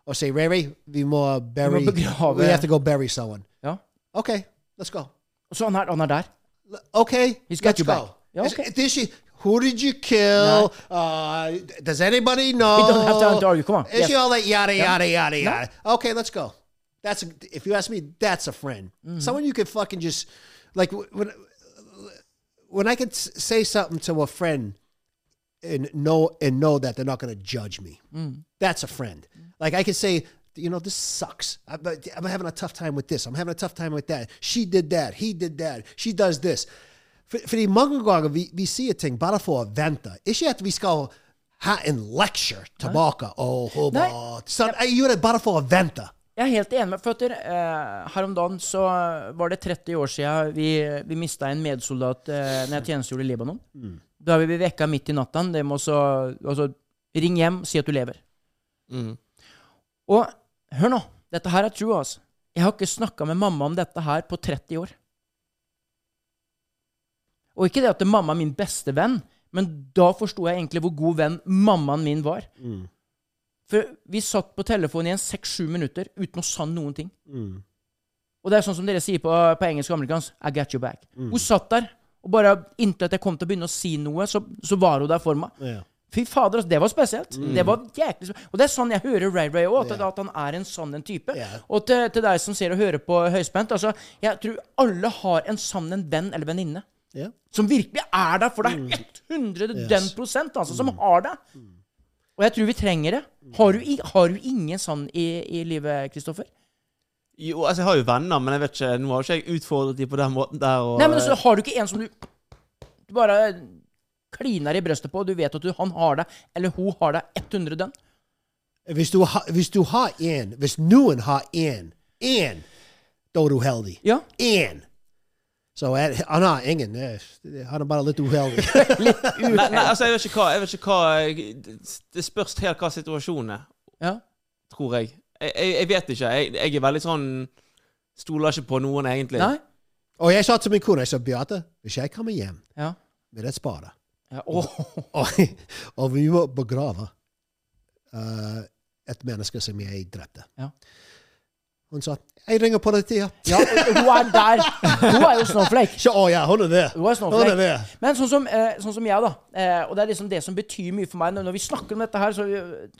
S2: og sier Rary, vi må bury
S3: begrave-
S2: We have to go bury someone.
S3: Ja.
S2: Okay, let's go.
S3: Så han er, han er der.
S2: L- Okay,
S3: He's got
S2: let's
S3: your
S2: go.
S3: back. Yeah,
S2: Is-
S3: okay.
S2: did she- who did you kill? Uh, does anybody know?
S3: don't have time to argue. Come on.
S2: Is she
S3: Yes.
S2: all that yada yada yada yada? Okay, let's go. That's a, if you ask me, that's a friend.
S3: Mm-hmm.
S2: Someone you could fucking just like wh- when when I could s- say something to a friend and know and know that they're not going to judge me. That's a friend. Like I could say, you know, this sucks. I, but I'm having a tough time with this. I'm having a tough time with that. She did that. He did that. She does this. För, för i många gånger vi, vi ser ting bara för att vänta. Inte att vi ska ha en lecture tillbaka. Åh, oh,
S3: Nej.
S2: Så jag gör det bara för att vänta.
S3: Jeg er helt enig med Føtter. Eh, her om dagen så var det 30 år siden vi, vi mista en medsoldat eh, når jeg tjenestegjorde i Libanon. Da ble vi vekka midt i natta. Det må så Altså, ring hjem, si at du lever. Og hør nå. Dette her er true, altså. Jeg har ikke snakka med mamma om dette her på 30 år. Og ikke det at mamma er min beste venn, men da forsto jeg egentlig hvor god venn mammaen min var. For vi satt på telefonen i en seks-sju minutter uten å sanne noen ting. Og det er sånn som dere sier på, på engelsk og amerikansk I got your back. Hun satt der, og bare inntil at jeg kom til å begynne å si noe, så, så var hun der for meg.
S2: Ja.
S3: Fy fader, altså, det var spesielt. Det var jæklig spesielt. Og det er sånn jeg hører Ray Ray òg, at, at han er en sann en type.
S2: Ja.
S3: Og til, til deg som ser og hører på høyspent, altså, jeg tror alle har en sann en venn eller venninne
S2: Yeah.
S3: som virkelig er der for deg.
S5: Mm.
S3: 100 den prosent, altså, som har deg. Og jeg tror vi trenger det.
S5: Mm.
S3: Har du, i- har du ingen sånn i, i livet, Kristoffer?
S5: Jo, altså, jeg har jo venner, men jeg vet ikke, nå har ikke jeg utfordret dem på den måten der. Og,
S3: Nei, men altså, har du ikke en som du, du bare kliner i brøstet på, og du vet at du, han har deg, eller hun har deg 100 den?
S2: Hvis du, ha, hvis du har en, hvis noen har en, en, da er du heldig.
S3: Ja.
S2: En. Så er, han har ingen. eh, Han er bare litt uheldig.
S5: nei, nei, altså, jeg vet ikke hva, jeg vet ikke hva jeg, det- Det spørs helt hva situasjonen er,
S3: ja.
S5: tror jeg. Jeg, jeg, jeg vet ikke. Jeg, jeg er veldig sånn Stoler ikke på noen, egentlig.
S3: Nei?
S2: Og jeg sa til min kone, jeg sa, Beate, hvis jeg kommer hjem
S3: Ja.
S2: med et spade,
S3: ja. Åh.
S2: og, og vi må begrave eh, et menneske som jeg drepte.
S3: Ja.
S2: Hun sa, jeg ringer politiet.
S3: ja, hun er der. Hun er jo snowflake.
S2: Så, å ja, hun er der.
S3: Hun er
S2: Hun er
S3: snowflake.
S2: der.
S3: sånn Men sånn som, eh, sånn som jeg, da. Eh, og det er liksom det som betyr mye for meg. Når når vi snakker om dette her, så,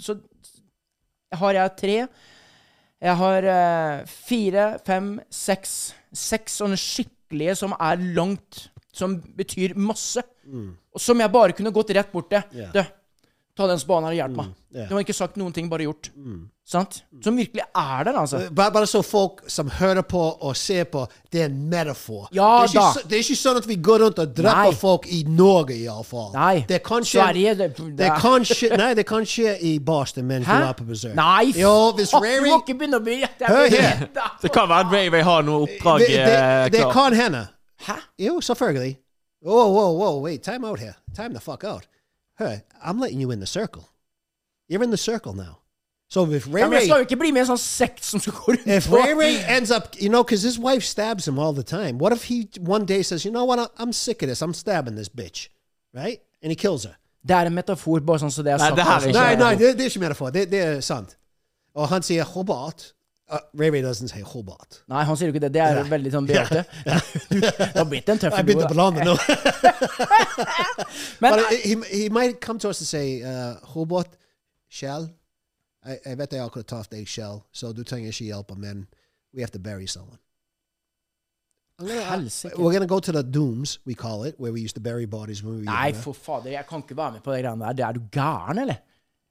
S3: så har jeg tre. Jeg har eh, fire, fem, seks. Seks sånne skikkelige som er langt, som betyr masse. Og som jeg bare kunne gått rett bort til.
S2: Mm. Ja. Mm,
S3: Du, ta den spaden her og hjelp meg.
S2: ja. Mm.
S3: Du har ikke sagt noen ting, bare gjort. Sant? Som virkelig er der, altså.
S2: Bare, bare så folk som hører på og ser på, det er en metafor.
S3: Ja
S2: det, er ikke,
S3: da.
S2: så- det er ikke sånn at vi går rundt og dreper
S3: Nei.
S2: folk i Norge, iallfall.
S3: Nei.
S2: Det er kanskje
S3: Sverige, det-
S2: det er kanskje, Nei, det kan skje i Boston mens du er på besøk.
S3: Nei,
S2: Jo, hvis
S3: fuck, du
S2: Rary
S3: må ikke begynne å bli
S2: Hør her.
S5: Det kan være at Ray Ray har noe oppdrag eh,
S2: Det, det, det
S5: klart.
S2: kan hende.
S3: Hæ?
S2: Jo, selvfølgelig. Whoa, whoa, whoa, wait, time out here. Time the fuck out. Hey, I'm letting you in the circle. You're in the circle now. So if
S3: Ja, men jeg
S2: Ray
S3: skal jo ikke bli med i en sånn sekt som skal gå rundt
S2: If
S3: og-
S2: Ray Ray ends up, you know, because his wife stabs him all the time. What if he one day says, you know what, I- I'm sick of this. I'm stabbing this bitch, right? And he kills her.
S3: Det er en metafor, bare sånn som det er
S5: Nei,
S3: sagt.
S5: det her er
S3: altså.
S5: ikke-
S2: No,
S5: Yeah.
S2: no, det, det er ikke metafor. Det, det er sant. Og han sier Hobart. Uh, Ray Ray doesn't say Hobart.
S3: Nei, han sier jo ikke det. Det er jo veldig sånn Beate. Du du har blitt en tøff
S2: I've been to
S3: da.
S2: Bologna, no.
S3: Men er-
S2: But he, he might come to us and say, uh, Hobart, Shell, I, I vet jeg akkurat traff deg, Shell, så du trenger ikke hjelp, men we have to bury someone.
S3: helsike.
S2: We're going to go to the dooms, we call it, where we used to bury bodies when we were
S3: Nei,
S2: younger.
S3: for fader, jeg kan ikke være med på de greiene der. Det Er du gæren, eller?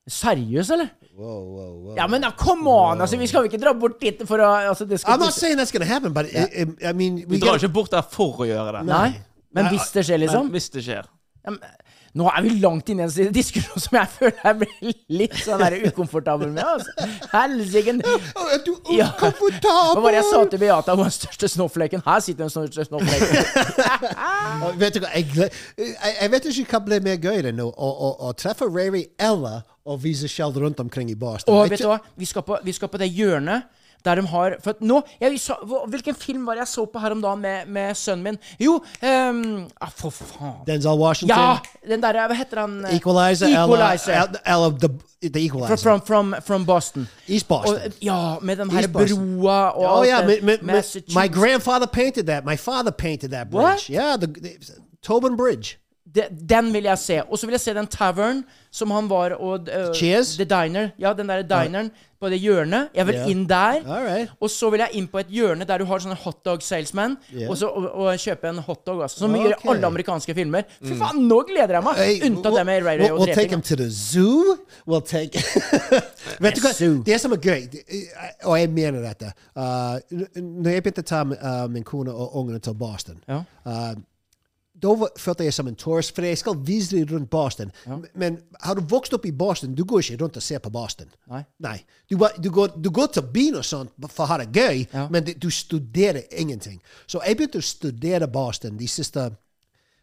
S3: Seriøs, eller?
S2: Whoa, whoa, whoa.
S3: Ja, men da, come on! Altså, vi skal jo ikke dra bort dit for å altså, det skal
S2: I'm not saying that's going to happen, but it, it, I mean,
S5: Du
S2: we
S5: drar
S2: gotta-
S5: ikke bort der for å gjøre det.
S3: Nei. Men hvis det skjer, liksom
S5: Men hvis det skjer.
S3: Ja, men- Nå er vi langt inne i en si- diskusjon som jeg føler jeg blir litt sånn der ukomfortabel med. Altså. Helsike!
S2: Er du
S3: Ja. Hva var det jeg sa
S2: ukomfortabel?
S3: til Beata? Hun er den største snowflaken. Her sitter den største snowflaken.
S2: Og Vet du hva, jeg, gle- jeg, jeg vet ikke hva ble mer gøy enn å, å, å, å treffe Rary eller å vise Shell rundt omkring i Boston.
S3: Og
S2: Jeg
S3: vet du
S2: kjen-
S3: hva? Vi skal på, vi skal på det hjørnet der de har For at nå jeg, sa, hva- Hvilken film var det jeg så på her om dagen med, med sønnen min? Jo ehm, ah, For faen.
S2: Denzel Washington.
S3: Ja! Den derre Hva heter han? eh,
S2: sånn Equalizer,
S3: Equalizer.
S2: eller, eller the, the Equalizer.
S3: Fra- From, Oh, from, from Boston.
S2: East Boston.
S3: Og, ja, med den her
S2: East Boston.
S3: broa og
S2: oh
S3: alt
S2: yeah,
S3: det.
S2: my, my- my-
S3: Massachusetts.
S2: my grandfather painted that. My father painted that bridge.
S3: What?
S2: Yeah, the, the Tobin Bridge.
S3: De- Den vil jeg se. Og så vil jeg se den tavern som han var og eh,
S2: Cheers?
S3: The diner. Ja, den der dineren på det hjørnet. Jeg vil
S2: Ja.
S3: inn der.
S2: Alright.
S3: Og så vil jeg inn på et hjørne der du har sånne hotdog salesman,
S2: Ja.
S3: og, så, og, og kjøpe en hotdog. Altså, som gjør
S2: Ok. Mm.
S3: alle amerikanske filmer. Fy faen, nå gleder jeg meg!
S2: Hey,
S3: Unntatt det med Ray Ray
S2: we'll,
S3: og
S2: we'll take
S3: dreping.
S2: him to the zoo. We'll take. Vet du hva?
S3: zoo.
S2: Det som er gøy, det- eh, og jeg mener dette uh, n- Når jeg begynte å ta eh, min kone og ungene til Boston,
S3: Ja.
S2: eh, da var- følte jeg som en turist, for jeg skal vise dem rundt Boston. Men har du vokst opp i Boston, du går ikke rundt og ser på Boston.
S3: Nei.
S2: Du, bare- du, går, du går til byen og sånt for å ha det gøy,
S3: Ja.
S2: men du studerer ingenting. Så jeg begynte å studere Boston de siste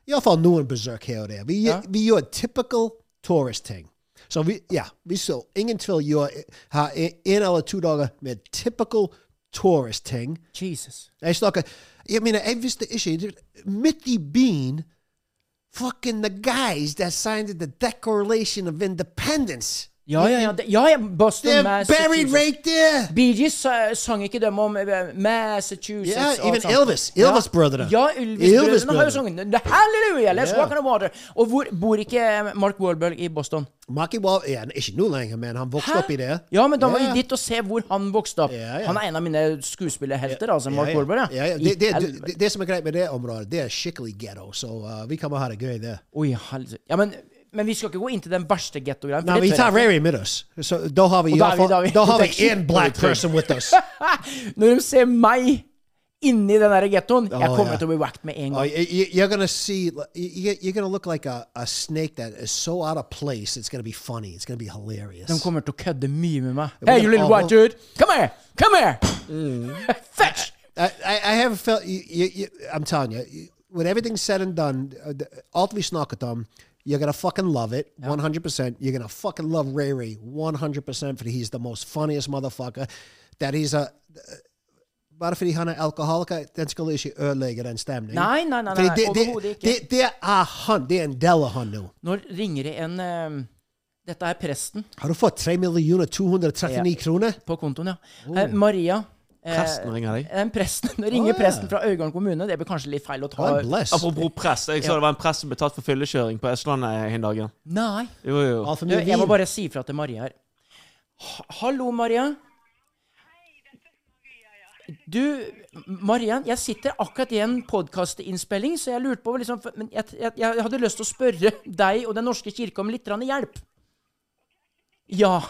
S2: Iallfall noen besøk her og der. Vi,
S3: Ja.
S2: vi gjør typical tourist-ting. Så vi, ja, vi så ingen tvil gjør ha en eller to dager med typical tourist-ting.
S3: Jesus.
S2: Jeg snakker Jeg mener, jeg visste ikke Midt i byen Fucking the guys that signed the Declaration of Independence.
S3: Ja, ja, ja. det- ja, ja
S2: They're
S3: Boston,
S2: buried
S3: Massachusetts.
S2: right there.
S3: Bee Gees eh, sang ikke dem om eh, Massachusetts
S2: Yeah,
S3: og
S2: even
S3: alt sånt.
S2: Elvis. Elvis-brødrene.
S3: Ja, ja Elvis-brødrene har jo
S2: Elvis-brødrene.
S3: sunget The Hallelujah, Let's
S2: Ja.
S3: Walk on the Water. Og hvor bor ikke eh, Mark Wahlberg i Boston?
S2: Marky Wall ja, Ikke nå lenger, men han vokste opp i det.
S3: Ja, men da må vi
S2: Ja.
S3: dit og se hvor han vokste opp.
S2: Ja, ja.
S3: Han er en av mine skuespillerhelter, altså. Mark
S2: ja, ja.
S3: Wahlberg,
S2: ja, ja.
S3: I
S2: Det, det,
S3: helvete.
S2: det, det som er greit med det området, det er skikkelig ghetto, så uh, vi kommer ha det gøy der.
S3: Oi, helse. Ja, men, men vi skal ikke gå inn til den verste getto-greien.
S2: Nei, vi tar Rary med oss. Så da har vi,
S3: Og da er vi-
S2: iallfall-
S3: da er vi-
S2: da har vi
S3: det er
S2: en
S3: skikkelig
S2: black
S3: trygg.
S2: person with us. Uh,
S3: Når de ser meg inni den der gettoen, jeg
S2: Å,
S3: kommer
S2: ja.
S3: til å bli whacked med en
S2: Oh,
S3: gang.
S2: you, you- you're gonna see. You, you're gonna look like a, a snake that is so out of place. It's gonna be funny. It's gonna be hilarious.
S3: De kommer til å kødde mye med meg.
S2: men-
S3: Hey, you little
S2: Å,
S3: white dude! Come here! Come here! Mm. Fetch!
S2: I, I, I haven't felt. You, you, you, I'm telling you, you, when everything's said and done, uh, the- all three Snockathon, you're gonna fucking love it, 100. percent You're gonna fucking love Ray Ray, 100 percent for he's the most funniest motherfucker. That he's a. uh, Bare fordi han er alkoholiker, den skal ikke ødelegge den stemningen.
S3: Nei, nei, nei,
S2: Fordi
S3: nei,
S2: det,
S3: overhodet
S2: det,
S3: ikke.
S2: det, det er han. Det er en del av han nå.
S3: Nå ringer det en eh, Dette er presten
S2: Har du fått 3 239
S3: Ja.
S2: kroner?
S3: på kontoen, ja. Eh, Maria. eh,
S5: Presten ringer deg.
S3: En presten, nå ringer
S2: Å, ja.
S3: presten fra Øygarden kommune. Det blir kanskje litt feil å ta
S2: God bless.
S5: Apropos press. Jeg så det var en prest som ble tatt for fyllekjøring på Østlandet en dag.
S3: Nei.
S5: Jo, jo.
S2: Altfor
S3: Du,
S2: mye
S3: jeg må
S2: vin.
S3: bare si ifra til Maria her. Ha- Hallo, Maria. Du, Maria, jeg sitter akkurat i en podkastinnspilling, så jeg lurte på liksom, for- men jeg, jeg, jeg hadde lyst til å spørre deg og Den norske kirke om litt grann hjelp. Ja.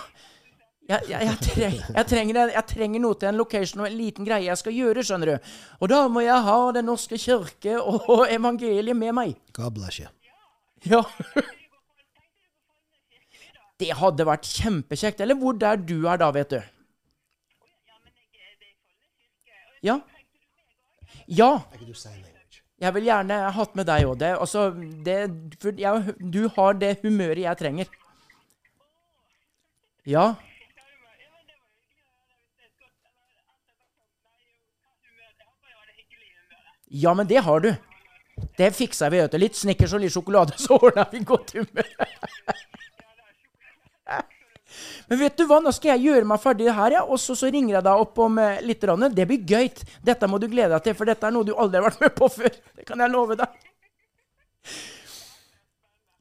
S3: Jeg, jeg, jeg, treng, jeg, trenger, en- jeg trenger noe til en location og en liten greie jeg skal gjøre, skjønner du. Og da må jeg ha Den norske kirke og evangeliet med meg.
S2: God bless you.
S3: Ja. Det hadde vært kjempekjekt. Eller hvor der du er da, vet du. Ja. Ja. Jeg vil gjerne ha hatt med deg òg. Det, altså, det, for jeg, du har det humøret jeg trenger. Ja. Ja, men det har du. Det fikser vi, vet du. Litt snickers og litt sjokolade, så ordner vi godt humør. Men vet du hva, nå skal jeg gjøre meg ferdig her, ja, og så, så ringer jeg deg opp om eh, litt. Rann. Det blir gøy. Dette må du glede deg til, for dette er noe du aldri har vært med på før. Det kan jeg love deg.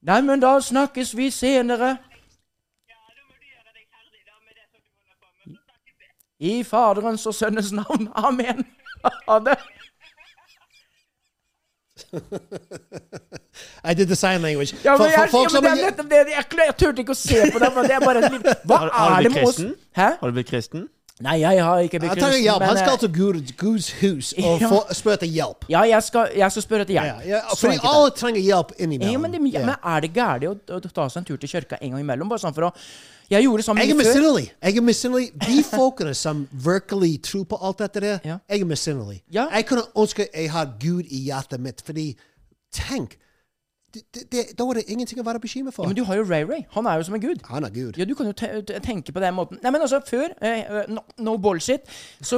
S3: Nei, men da snakkes vi senere. I Faderens og Sønnens navn. Amen. Ha det.
S2: I did the sign language.
S3: Ja, men
S2: For- for
S3: jeg,
S2: folk
S3: ja,
S2: som
S3: men det er
S2: er-
S3: nettopp det. Jeg, jeg turte ikke å se på deg. men det er bare en liten- Hva
S5: Har- har
S3: er
S5: du
S3: det
S5: blitt
S3: med oss?
S5: kristen?
S3: Hæ?
S5: Har du blitt kristen?
S3: Nei, jeg har ikke
S2: Han trenger
S3: begrunnelsen,
S2: hjelp. Han
S3: men,
S2: skal
S3: eh,
S2: til Gud, Guds hus og
S3: Ja.
S2: få, spørre etter hjelp.
S3: Ja, jeg skal, jeg skal spørre etter
S2: Ja,
S3: hjelp.
S2: ja,
S3: Så
S2: fordi
S3: enkelt er det.
S2: alle trenger hjelp
S3: Ja, men,
S2: innimellom.
S3: det, er mye-
S2: Ja.
S3: men er det gærent å, å ta seg en tur til kirka en gang imellom? Bare sånn for å Jeg gjorde sånn
S2: Jeg er
S3: mye før.
S2: misunnelig. Jeg er misunnelig. De folkene som virkelig tror på alt dette der,
S3: Ja.
S2: jeg er misunnelig.
S3: Ja.
S2: Jeg kunne ønske jeg hadde Gud i hjertet mitt, fordi tenk det, det, det- Da var det ingenting å være bekymret for.
S3: Ja, men du har jo Ray Ray. Han er jo som en gud.
S2: Han er Gud.
S3: Ja, du kan jo te te- tenke på den måten. Nei, men altså, før eh, eh, No, no bullshit. Så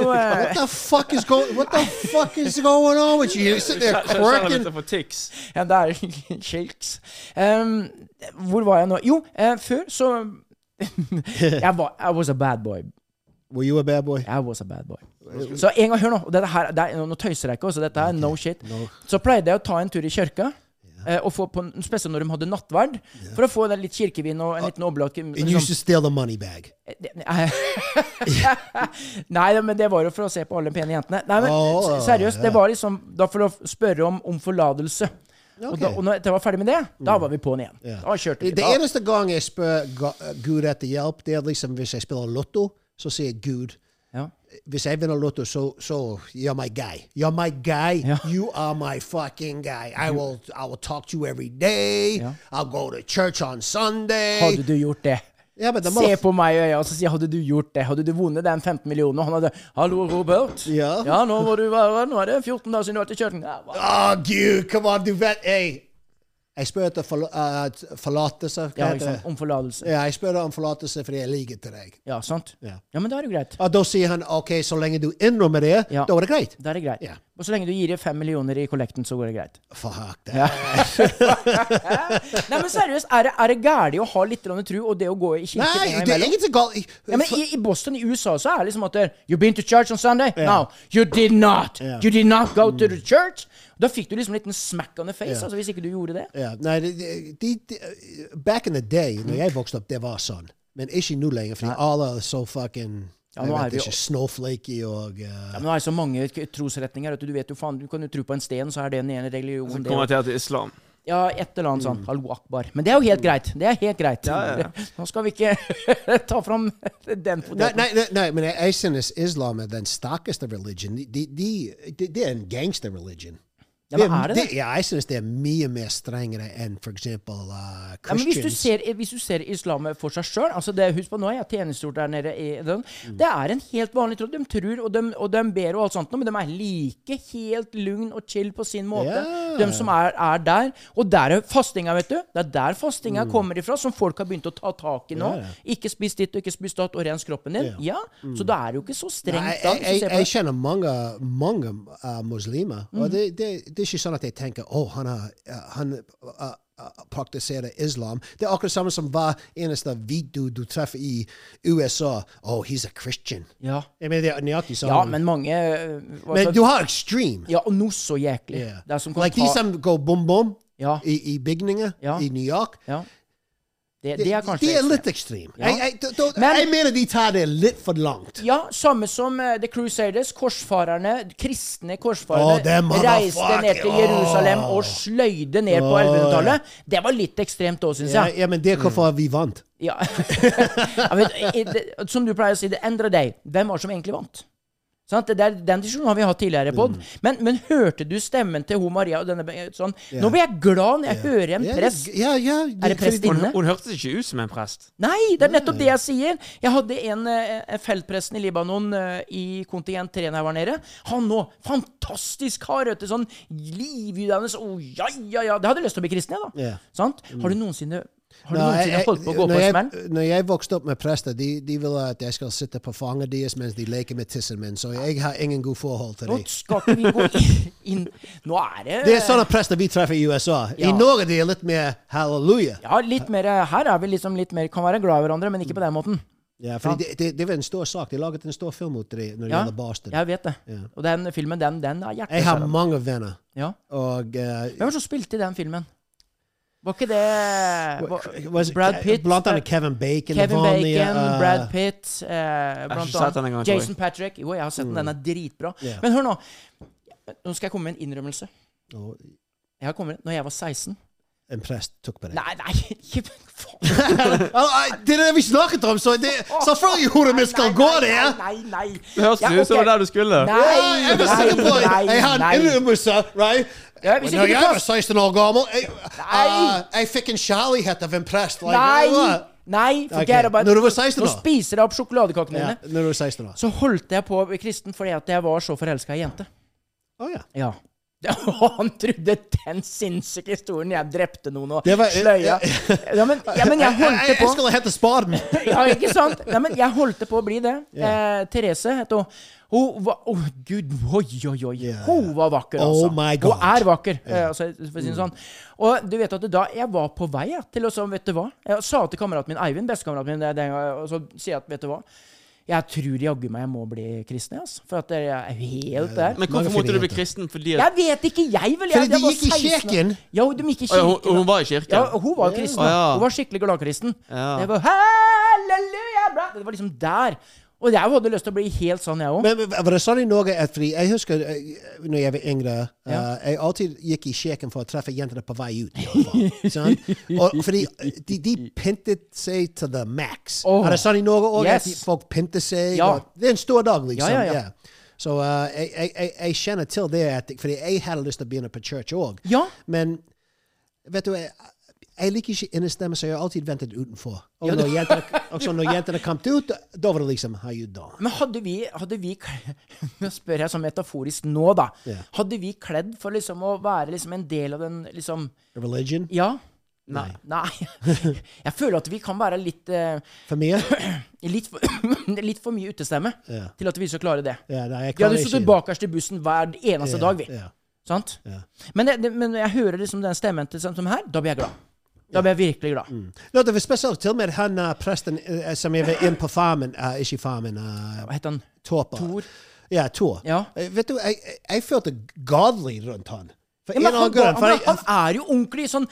S3: eh,
S2: What the fuck is going What the fuck is going on with you? You sit there
S5: Så- så jeg har
S2: quirking.
S5: litt for tics.
S3: Ja, det er Shilks. Ehm, hvor var jeg nå? Jo, eh, før så jeg var, I was a bad boy.
S2: Were you a bad boy?
S3: I was a bad boy. Så en gang, hør nå. og Dette her, det er, nå tøyser jeg ikke, altså. Dette er no shit. Så pleide jeg å ta en tur i kirka. eh, Og få på, spesielt når de hadde nattverd, for å få den litt kirkevin og en
S2: Ah,
S3: liten oblat.
S2: And you used to steal the money bag.
S3: Det- Nei, Nei, men det var jo for å se på alle pene jentene. Nei, men
S2: Å,
S3: s- seriøst,
S2: Ah, ja.
S3: det var liksom da for å f- spørre om, om forlatelse. Og,
S2: Ok. Mm.
S3: da, og når jeg var ferdig med det, da var vi på'n igjen.
S2: Ja.
S3: Da kjørte vi.
S2: Det
S3: Da.
S2: eneste gang jeg spør Ga- Gud etter hjelp, det er liksom hvis jeg spiller lotto, så sier Gud
S3: Ja.
S2: hvis jeg vinner Lotto, så, så You're my guy. You're my guy.
S3: Ja.
S2: You are my fucking guy. I will, I will talk to you every day.
S3: Ja.
S2: I'll go to church on Sunday.
S3: Hadde du gjort det?
S2: Ja, men det må-
S3: Se på meg i øya og så sier jeg, hadde du gjort det? Hadde du vunnet den 15 millionen? Og han hadde Hallo, Robert.
S2: Ja.
S3: nå må du være Nå er det 14 dager siden du har vært i kirken. Ja, hva-
S2: Åh, Gud, come on, du vet hey. Jeg spør etter forla- eh, forlatelse. Hva
S3: Ja,
S2: heter
S3: ikke sant.
S2: det?
S3: Om forlatelse.
S2: Ja, jeg spør om forlatelse fordi jeg liker til deg.
S3: Ja, sant?
S2: Ja.
S3: men da er det greit.
S2: Og da sier han OK, så lenge du innrømmer det,
S3: Ja.
S2: da er det greit.
S3: Da er det greit.
S2: Ja.
S3: Og så lenge du gir 5 millioner i kollekten, så går det greit.
S2: Fuck det.
S3: Nei, men seriøst, er det, er det gærent å ha litt grann tru og det å gå i kirken en
S2: Nei,
S3: gang
S2: det er
S3: imellom?
S2: ingenting galt.
S3: Ja, men i, I Boston i USA så er det liksom at det, You been to church on Sunday? No, you did not! You did not go to
S2: Mm.
S3: the church! Da fikk du liksom en liten smack on the face altså, hvis ikke du gjorde det.
S2: Ja, nei, de, de, de, back in the day, når jeg vokste opp, det var sånn. Men ikke nå lenger, fordi alle er så fucking
S3: Ja,
S2: jeg
S3: nå er
S2: vet
S3: vi
S2: ikke, snowflakey og uh,
S3: Ja, men det er så mange k- trosretninger. Vet du, du vet jo faen, du kan jo tro på en sten, så er det den ene religionen. det
S5: Kommer
S3: og-
S5: til til islam.
S3: Ja, et eller annet sånn. Hallo akbar. Men det er jo helt greit. Det er helt greit. Nå skal vi ikke ta fram den
S2: nei,
S3: poteten.
S2: nei, nei, nei, men jeg jeg synes islam er den sterkeste religion. De, de, de, det er en gangster religion.
S3: Ja, men er det det?
S2: ja, jeg synes det er mye mer strengere enn for eksempel uh,
S3: Ja, men hvis du,
S2: Christians.
S3: ser, hvis du ser islam for seg sjøl altså det- Husk på, nå er jeg tjenestegjort der nede i den.
S2: Mm.
S3: Det er en helt vanlig tro. De tror, og de, og de ber og alt sånt, men de er like helt lugn og chill på sin måte,
S2: Ja.
S3: de som er, er der. Og der er fastinga, vet du. Det er der fastinga
S2: Mm.
S3: kommer ifra, som folk har begynt å ta tak i nå. Ikke spis ditt og ikke spis datt, og rens kroppen din. Ja, Så da er det jo ikke så
S2: Mm. Nei,
S3: strengt, da.
S2: jeg,
S3: Hvis
S2: jeg,
S3: du ser
S2: jeg
S3: på det. Mhm.
S2: kjenner mange, mange uh, muslimer, og det, det, det er ikke sånn at jeg tenker å, han, er, uh, han uh, uh, praktiserer islam. Det er akkurat samme som hver eneste video du treffer i USA. Oh, he's a Christian.
S3: Ja.
S2: Jeg mener, det er nøyaktig sånn.
S3: ja, men mange øh, altså-
S2: Men du har ekstrem.
S3: Ja, og noe så jæklig.
S2: Yeah.
S3: Det er som kan
S2: Like de
S3: ta-
S2: som går bom-bom
S3: Ja.
S2: i, i bygninger
S3: Ja.
S2: i New York.
S3: ja. Det, det er kanskje
S2: de er
S3: ekstremt.
S2: litt ekstrem.
S3: Ja.
S2: Jeg, jeg, da- da-
S3: Men-
S2: jeg mener de tar det litt for langt.
S3: Ja, samme som eh, The Crusaders. Korsfarerne,
S2: Å,
S3: kristne
S2: det
S3: korsfarerne,
S2: motherfucker-
S3: reiste ned til Jerusalem
S2: Åh.
S3: og sløyde ned på
S2: Åh, ja.
S3: 1100-tallet. Det var litt ekstremt òg, syns
S2: Ja,
S3: jeg.
S2: ja, men det er hvorfor vi vant.
S3: Ja. Ja, men, i det- som du pleier å si, det endrer deg. Hvem var det som egentlig vant? Sant? Det der, den diskusjonen har vi hatt tidligere på
S2: Mm.
S3: men, men hørte du stemmen til hun Maria? Og denne, sånn, Nå blir jeg glad når jeg hører en
S2: Ja,
S3: prest.
S2: Ja, ja,
S3: Er
S5: Hun,
S3: det prestinne?
S5: hun hørtes ikke ut som en prest.
S3: Nei, det er nettopp det jeg sier. Jeg hadde en, eh, en feltpresten i Libanon eh, i kontingent 3 når jeg var nede. Han nå, fantastisk kar, vet du. Sånn livgivende så, oh, ja, ja, ja. Det hadde jeg lyst til å bli kristen, jeg, da.
S2: Ja. Mm.
S3: Sant? Har du noensinne, har du
S2: Nei,
S3: noensinne
S2: jeg-
S3: holdt på å gå
S2: når
S3: på en
S2: jeg-
S3: smell?
S2: Når jeg vokste opp med prester, de, de ville at jeg skal sitte på fanget deres mens de leker med tissen min, så jeg har ingen god forhold til
S3: Nå
S2: dem.
S3: skal ikke vi gå inn, inn. Nå er det
S2: Det er sånne prester vi treffer i USA. I
S3: Ja.
S2: Norge de er litt mer halleluja.
S3: Ja, litt mer eh, Her er vi liksom litt mer Kan være glad i hverandre, men ikke på den måten.
S2: Ja, fordi det, det, det var en stor sak. De laget en stor film ut av det når det
S3: Ja,
S2: gjelder Boston.
S3: jeg vet det. Og den filmen, den, den er
S2: Jeg har
S3: hjerteskjærende.
S2: mange venner,
S3: Ja.
S2: og eh,
S3: Hvem var det som spilte i den filmen? Var ikke det var,
S2: was it
S3: Brad
S2: Ke-
S3: Pitt?
S2: Blant annet Kevin Bacon. det
S3: Kevin Bacon,
S2: vanlige, eh,
S3: Brad Pitt eh, blant
S5: ikke sett den engang, tror
S3: annet.
S5: jeg.
S3: Jason Patrick. Jo, jeg har sett den. Den er dritbra.
S2: Mm. Ja.
S3: Men hør nå. Nå skal jeg komme med en innrømmelse.
S2: og-
S3: Jeg har kommet, når jeg var 16,
S2: en prest tok med det.
S3: Nei, nei, ikke faen.
S2: Ja, Det er det vi snakket om, så det, selvfølgelig gjorde vi skal gå det.
S3: Nei, nei, nei.
S5: Det hørtes
S3: Ja,
S5: ut som det var
S3: ok.
S5: der du skulle.
S3: Nei,
S2: Ja, jeg var sikker på
S3: nei,
S2: Jeg har
S3: nei.
S2: en innrømmelse, right?
S3: Ja, hvis
S2: Men Når
S3: ikke du
S2: jeg var
S3: kaster
S2: 16 år gammel, jeg,
S3: Nei.
S2: uh, jeg fikk en kjærlighet av en prest. Like, oh,
S3: Nei!
S2: hva?
S3: Nei,
S2: Ok,
S3: forget about
S2: når du var 16
S3: Nå
S2: da?
S3: spiser jeg opp sjokoladekakene
S2: Ja,
S3: mine.
S2: når du var 16 år.
S3: Så holdt jeg på å bli kristen fordi at jeg var så forelska i ei jente.
S2: Å, ja.
S3: Ja. Han trodde den sinnssyke historien jeg drepte noen og
S2: Det var-
S3: sløya ja, men, ja, men jeg
S2: jeg,
S3: holdt det
S2: jeg,
S3: på.
S2: jeg skulle hente spaden.
S3: Ja, ikke sant? Nei, men jeg holdt det på å bli det. Eh, Therese het hun. Hun var Å, gud. Oi, oi, oi.
S2: Ja, ja.
S3: Hun var vakker,
S2: Oh
S3: altså.
S2: my God.
S3: Hun er vakker, eh, altså, for å si det sånn. Og du vet at da jeg var på vei jeg, til å så, Vet du hva? Jeg sa til kameraten min, Eivind, bestekameraten min, det- det- og så sier jeg at vet du hva? Jeg tror jaggu meg jeg må bli kristen, jeg, altså. For at jeg er helt der.
S5: Men hvorfor måtte du bli kristen? Fordi at
S3: Jeg vet ikke, jeg vel. Jeg,
S2: Fordi de
S3: jeg var
S2: gikk i
S3: 16 år.
S2: kirken.
S3: Ja, de gikk i
S5: Å, ja,
S3: kirken.
S5: hun- hun var i kirken.
S3: Ja, og hun var kristen. da.
S5: Å, ja.
S3: Hun var skikkelig gladkristen.
S5: Ja.
S3: Det var halleluja, bra. Det var liksom der. Og jeg hadde lyst til å bli helt sånn, jeg òg.
S2: Men men var det sånn i Norge at fordi jeg husker eh, når jeg var yngre, eh,
S3: Ja.
S2: jeg alltid gikk i kirken for å treffe jentene på vei ut. i alle fall, sant? Og fordi eh, de, de pyntet seg til the max.
S3: Åh.
S2: Er det sånn i Norge òg?
S3: Yes.
S2: At de- folk pynter seg?
S3: Ja.
S2: Og, det er en stor dag, liksom.
S3: Ja,
S2: Ja,
S3: ja, ja.
S2: Så eh, jeg, jeg, jeg, jeg kjenner til det, at, fordi jeg hadde lyst til å begynne på church òg.
S3: Ja.
S2: Men vet du jeg, jeg liker ikke innestemme, så jeg har alltid ventet utenfor. Og når jentene, også når jentene kom ut, da var det liksom How you doing?
S3: Men hadde vi, hadde vi kle- Nå spør jeg sånn metaforisk nå, da.
S2: Ja.
S3: Hadde vi kledd for liksom å være liksom en del av den liksom
S2: Religion?
S3: Ja?
S5: Nei.
S3: Nei. Jeg føler at vi kan være litt eh,
S2: For meg?
S3: Litt for, litt for mye utestemme
S2: Ja.
S3: til at vi skal klare det.
S2: Ja, nei, jeg
S3: Vi
S2: klarer
S3: hadde sittet
S2: ikke-
S3: bakerst i bussen hver
S2: Ja,
S3: eneste dag, vi.
S2: ja.
S3: Sant?
S2: Ja.
S3: Men, det, det, men når jeg hører liksom den stemmen til sånn som her, da blir jeg glad. Da blir jeg virkelig glad.
S2: No, det var spesielt til og med han eh, presten eh, som jeg var inne på farmen, eh, ikke farmen,
S3: Hva heter han?
S2: Torpa.
S3: Tor?
S2: Ja, Tor.
S3: Ja.
S2: Eh, vet du, jeg, jeg- jeg følte godly rundt han. For
S3: Ja,
S2: en
S3: men
S2: eller
S3: han,
S2: annen grunn. For
S3: han, han
S2: jeg,
S3: er jo ordentlig sånn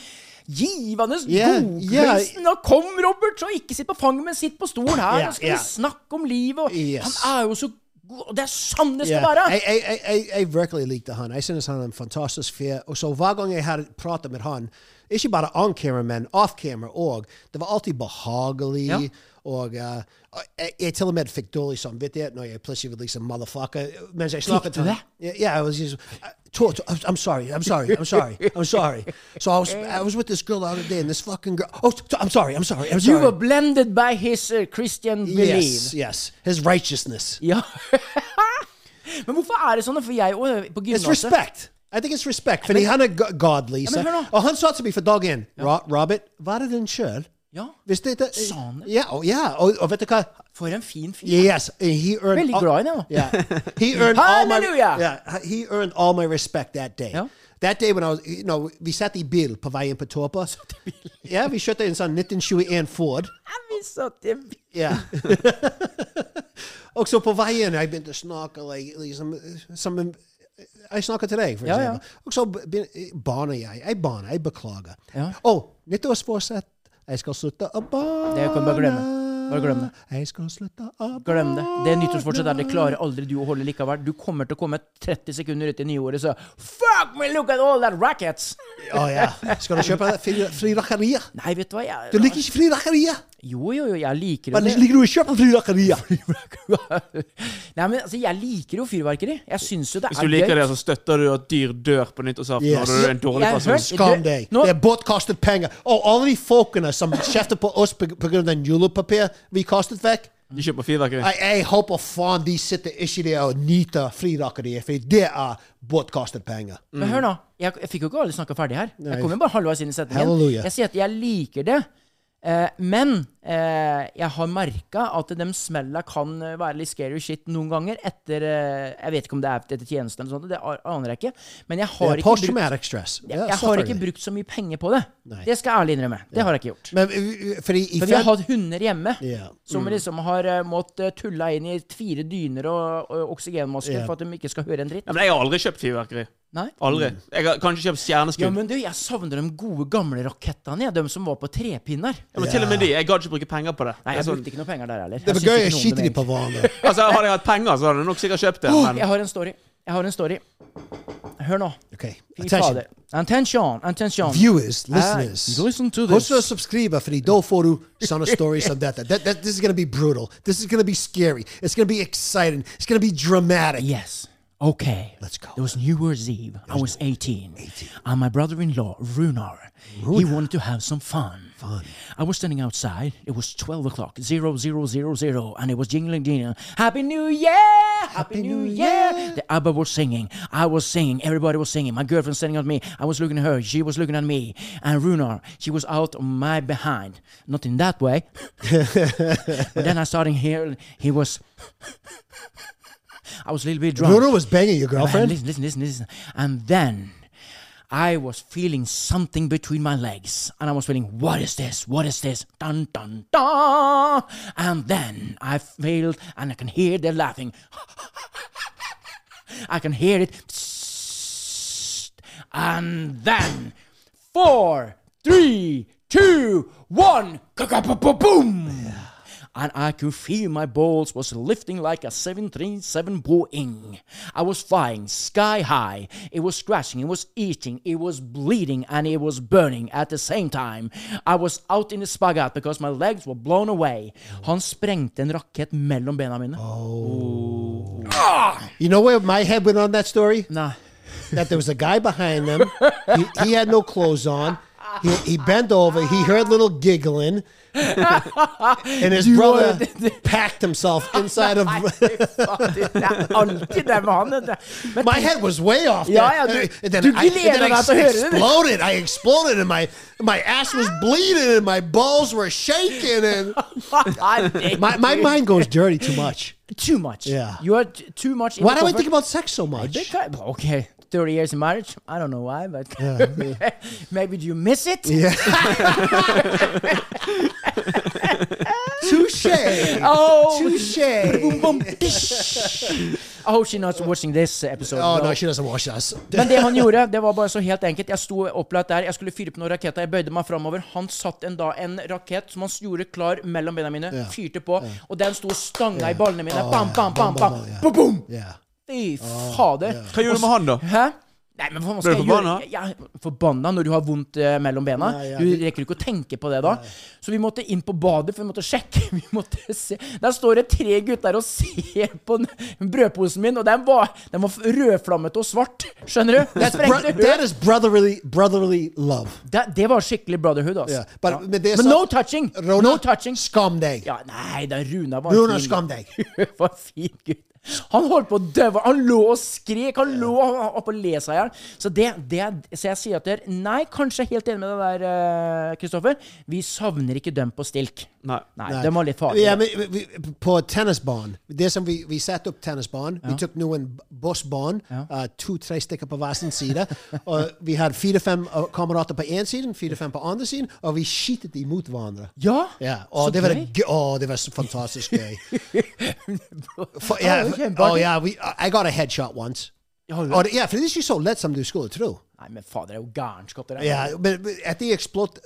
S3: givende,
S2: Ja, ja.
S3: godkristen. Og kom, Robert, så ikke sitt på fanget, men sitt på stolen her.
S2: Ja,
S3: og skal
S2: ja.
S3: vi snakke om livet? Og
S2: Yes.
S3: Han er jo så god, og det er sånn det skal
S2: ja,
S3: være!
S2: jeg, jeg, jeg, jeg, jeg virkelig likte han. Jeg synes han er en fantastisk fyr. Og så hver gang jeg hadde pratet med han, ikke bare on camera, men off camera òg, det var alltid behagelig.
S3: Ja.
S2: Og eh, jeg, jeg til og med fikk dårlig samvittighet når jeg plutselig var liksom motherfucker. Mens jeg snakket
S3: du
S2: til
S3: det?
S2: ham. Yeah, yeah, I was just. I, to, to, I'm, I'm sorry. I'm sorry. I'm sorry. I'm sorry. So I was I was with this girl the other day, and this fucking girl. Oh, t- I'm sorry. I'm sorry. I'm
S3: You
S2: sorry.
S3: were blended by his uh, Christian belief.
S2: yes, yes. His righteousness.
S3: Ja. men hvorfor er det sånn? For jeg òg, på
S2: It's
S3: gymnaset
S2: respect. I think it's respect. Fordi han er go- godly.
S3: men hør
S2: Så.
S3: nå.
S2: Og han sa til meg for dagen Ro- Robert, var det din sjøl?
S3: Ja.
S2: Hvis det ikke
S3: Sa han det?
S2: Ja. Og, ja, og, og vet du hva?
S3: For en fin fyr.
S2: Yes, he earned.
S3: Veldig glad i det, da.
S2: Yeah, he earned all my.
S3: Hallelujah.
S2: Yeah, he earned all my respect that day.
S3: Ja.
S2: That day when I was, you know, vi satt i bil på vei inn på Torpa. Ja, vi kjørte en sånn 1921 Ford.
S3: Ja, vi satt i en bil.
S2: Ja. Og så på veien jeg begynte å snakke like, liksom, som en Jeg snakker til deg, for
S3: Ja, ja.
S2: eksempel. Og så begyn- barner jeg. Jeg barner. Jeg beklager.
S3: Ja.
S2: Og nyttårsforsett Jeg skal slutte å barne.
S3: Det kan du bare glemme. Bare glem det.
S2: Jeg skal slutte å barne.
S3: Glem det. Det er nyttårsfortsett der. Det klarer aldri du å holde likevel. Du kommer til å komme 30 sekunder ut i nyåret, så Fuck me, look at all that rackets!
S2: Å Oh ja. Skal du kjøpe fri- frirakerier?
S3: Nei, vet du hva, jeg
S2: Du liker ikke frirakerier?
S3: Jo, jo, jo, jeg liker jo
S2: Men
S3: det.
S2: liker du å kjøpe frirakerier?
S3: Nei, men altså, jeg liker jo fyrverkeri. Jeg syns jo det er
S5: Hvis du liker
S3: gøy.
S5: det, så støtter du at dyr dør på nyttårsaften.
S2: Yes.
S5: Yes. Og du er en dårlig
S3: Jeg har
S5: person.
S3: hørt-
S2: Skam deg.
S3: Nå-
S2: Det er bortkastet penger. Og alle de folkene som kjefter på oss pga. julepapir vi kastet vekk
S5: De kjøper fyrverkeri.
S2: jeg, jeg håper faen de sitter ikke der og nyter frirakeriet, for det er bortkastet penger.
S3: Men hør nå, jeg, jeg fikk jo ikke alle snakka ferdig her. Jeg kom jo bare halvveis inn i setningen.
S2: Halleluja.
S3: Jeg sier at jeg liker det, eh, men eh, jeg har merka at de smella kan eh, være litt scary shit noen ganger etter eh, Jeg vet ikke om det er etter tjenesten eller sånt, det a- aner jeg ikke. Men jeg
S2: Det
S3: har,
S2: er
S3: ikke brukt,
S2: Posttraumatic stress.
S3: jeg,
S2: Ja,
S3: jeg har ikke
S2: selvfølgelig.
S3: brukt så mye penger på det.
S2: Nei.
S3: Det skal jeg ærlig innrømme. Det har jeg ikke gjort.
S2: Men uh, fordi i
S3: For vi har
S2: fem-
S3: hatt hunder hjemme
S2: Ja. Mm.
S3: som liksom har eh, måttet tulla inn i fire dyner og, og oksygenmasker
S2: Ja.
S3: for at de ikke skal høre en dritt.
S5: Ja, men jeg har aldri kjøpt fyrverkeri.
S3: Nei?
S5: Aldri. Jeg har kanskje kjøpt stjerneskudd.
S3: Ja,
S5: Ja, men,
S3: men du, jeg savner de gode gamle rakettene, jeg. De som var på trepinner.
S5: Til og med de. Jeg gadd ikke bruke penger på det.
S3: Nei, jeg
S5: Altså,
S3: brukte ikke noe penger der heller.
S2: Det var
S3: syns
S2: gøy å
S3: ikke noe om
S2: skite
S3: dem,
S2: de på hverandre.
S5: altså, hadde jeg hatt penger, så hadde jeg nok sikkert kjøpt det.
S3: egentlig.
S5: Men
S3: Jeg har en story. Jeg har en story. hør nå.
S2: Okay.
S3: Fy
S2: Attention.
S3: fader. Attention, attention.
S2: Viewers,
S3: Ah,
S2: listeners.
S3: listen to
S2: Host
S3: this.
S2: us subscribe for the Do Foru Son of Stories on That, that, that. This is going to be brutal. This is going to be scary. It's going to be exciting. It's going to be dramatic.
S3: Yes. Okay.
S2: Let's go.
S3: It was New Year's Eve. I was 18. And my brother in law, Runar, he wanted to have some fun. Fun. I was standing outside. It was 12 o'clock, zero, zero, zero, zero, and it was jingling, jingling. Happy New Year! Happy, New Year! The ABBA was singing. I was singing. Everybody was singing. My girlfriend standing at me. I was looking at her. She was looking at me. And Runar, she was out on my behind. Not in that way. but then I started hearing he was. I was a little bit drunk.
S2: Bruno was banging your
S3: And
S2: girlfriend.
S3: Listen, listen, listen, listen. And then I was feeling something between my legs. And I was feeling, what is this? What is this? Dun, dun, dun. And then I failed and I can hear the laughing. I can hear it. Psst. And then four, three, two, one, boom. And I could feel my balls was lifting like a 737 Boeing. I was flying sky high. It was scratching, it was eating, it was bleeding, and it was burning at the same time. I was out in the spagat because my legs were blown away. Han sprengte en rakett mellom bena mine.
S2: You know where my head went on that story?
S3: Nei.
S2: that there was a guy behind them. He, he had no clothes on. He, he bent over. He heard little giggling, and his brother packed himself inside of.
S3: Det er alltid det med han. vet du. Men
S2: My head was way off.
S3: Yeah,
S2: there.
S3: yeah, dude.
S2: And then
S3: Dude,
S2: I,
S3: you
S2: and
S3: need
S2: then I
S3: another head, isn't it?
S2: exploded. I exploded, and my my ass was bleeding, and my balls were shaking, and
S3: I-
S2: my, my mind goes dirty too much.
S3: er Too much.
S2: Yeah.
S3: You are t- too much. in
S2: Why
S3: the
S2: do I
S3: comfort-
S2: think about sex so much?
S3: Because- okay, 30 years in marriage. I don't know why, but maybe do you miss it?
S2: Touche.
S3: Oh,
S2: Touche.
S3: boom, dish. I hope she's not watching this episode.
S2: Oh
S3: No.
S2: no, she doesn't watch us.
S3: Men det han gjorde, det var bare så helt enkelt. Jeg sto opplatt der, jeg skulle fyre på noen raketter, jeg bøyde meg framover. Han satt en, da, en rakett som han gjorde klar mellom beina mine, fyrte på, og den sto og stanga i ballene mine. Bam, bam, bam, bam.
S2: bam, ja.
S3: Boom, boom.
S2: Yeah.
S3: Fy fader.
S5: Hva gjorde du med han, da?
S3: Hæ? Nei, men hva
S5: Ble
S3: skal
S5: du
S3: jeg gjøre?
S5: forbanna?
S3: Jeg jeg er forbanna når du har vondt eh, mellom bena.
S2: Nei, ja,
S3: Du rekker ikke å tenke på det da. Så vi måtte inn på badet, for vi måtte sjekke. Vi måtte se. Der står det tre gutter og ser på den brødposen min, og den var, den var rødflammet og svart. Skjønner du? Den
S2: That's bro-
S3: sprengte
S2: that
S3: huet.
S2: is brotherly brotherly love.
S3: Det, det var skikkelig brotherhood, altså.
S2: Yeah, but men det är
S3: Men
S2: så-
S3: no touching!
S2: Rona,
S3: no touching.
S2: Skam dig.
S3: Ja, nei, da Runa var
S2: Runa,
S3: fin.
S2: skam deg.
S3: var fin gutt. Han holdt på å døve. Han lå og skrek. Han lå han var oppe og le seg i hjel. Så, det- det- så jeg sier til dere Nei, kanskje helt enig med deg der, eh, Kristoffer. Vi savner ikke dem på stilk.
S5: Nei.
S3: Nei, de var litt farlige.
S2: Ja, men vi, vi, på tennisbanen. Det som vi, vi satte opp tennisbanen. Vi tok noen bossbanen, uh, to-tre stykker på hver sin side. og vi hadde fire-fem uh, kamerater på én side, fire-fem på andre siden, og vi skittet imot hverandre.
S3: Ja,
S2: Ja, og
S3: så
S2: det var,
S3: gøy.
S2: gøy. Å, det var så fantastisk gøy. For, ja,
S3: det var kjempeartig.
S2: oh, ja, we, I got a headshot once.
S3: Ja,
S2: Og det- ja, for det er ikke så lett som du skulle tro.
S3: Nei, men fader, det er jo gærenskap. det der.
S2: Ja, men men at de eksplod,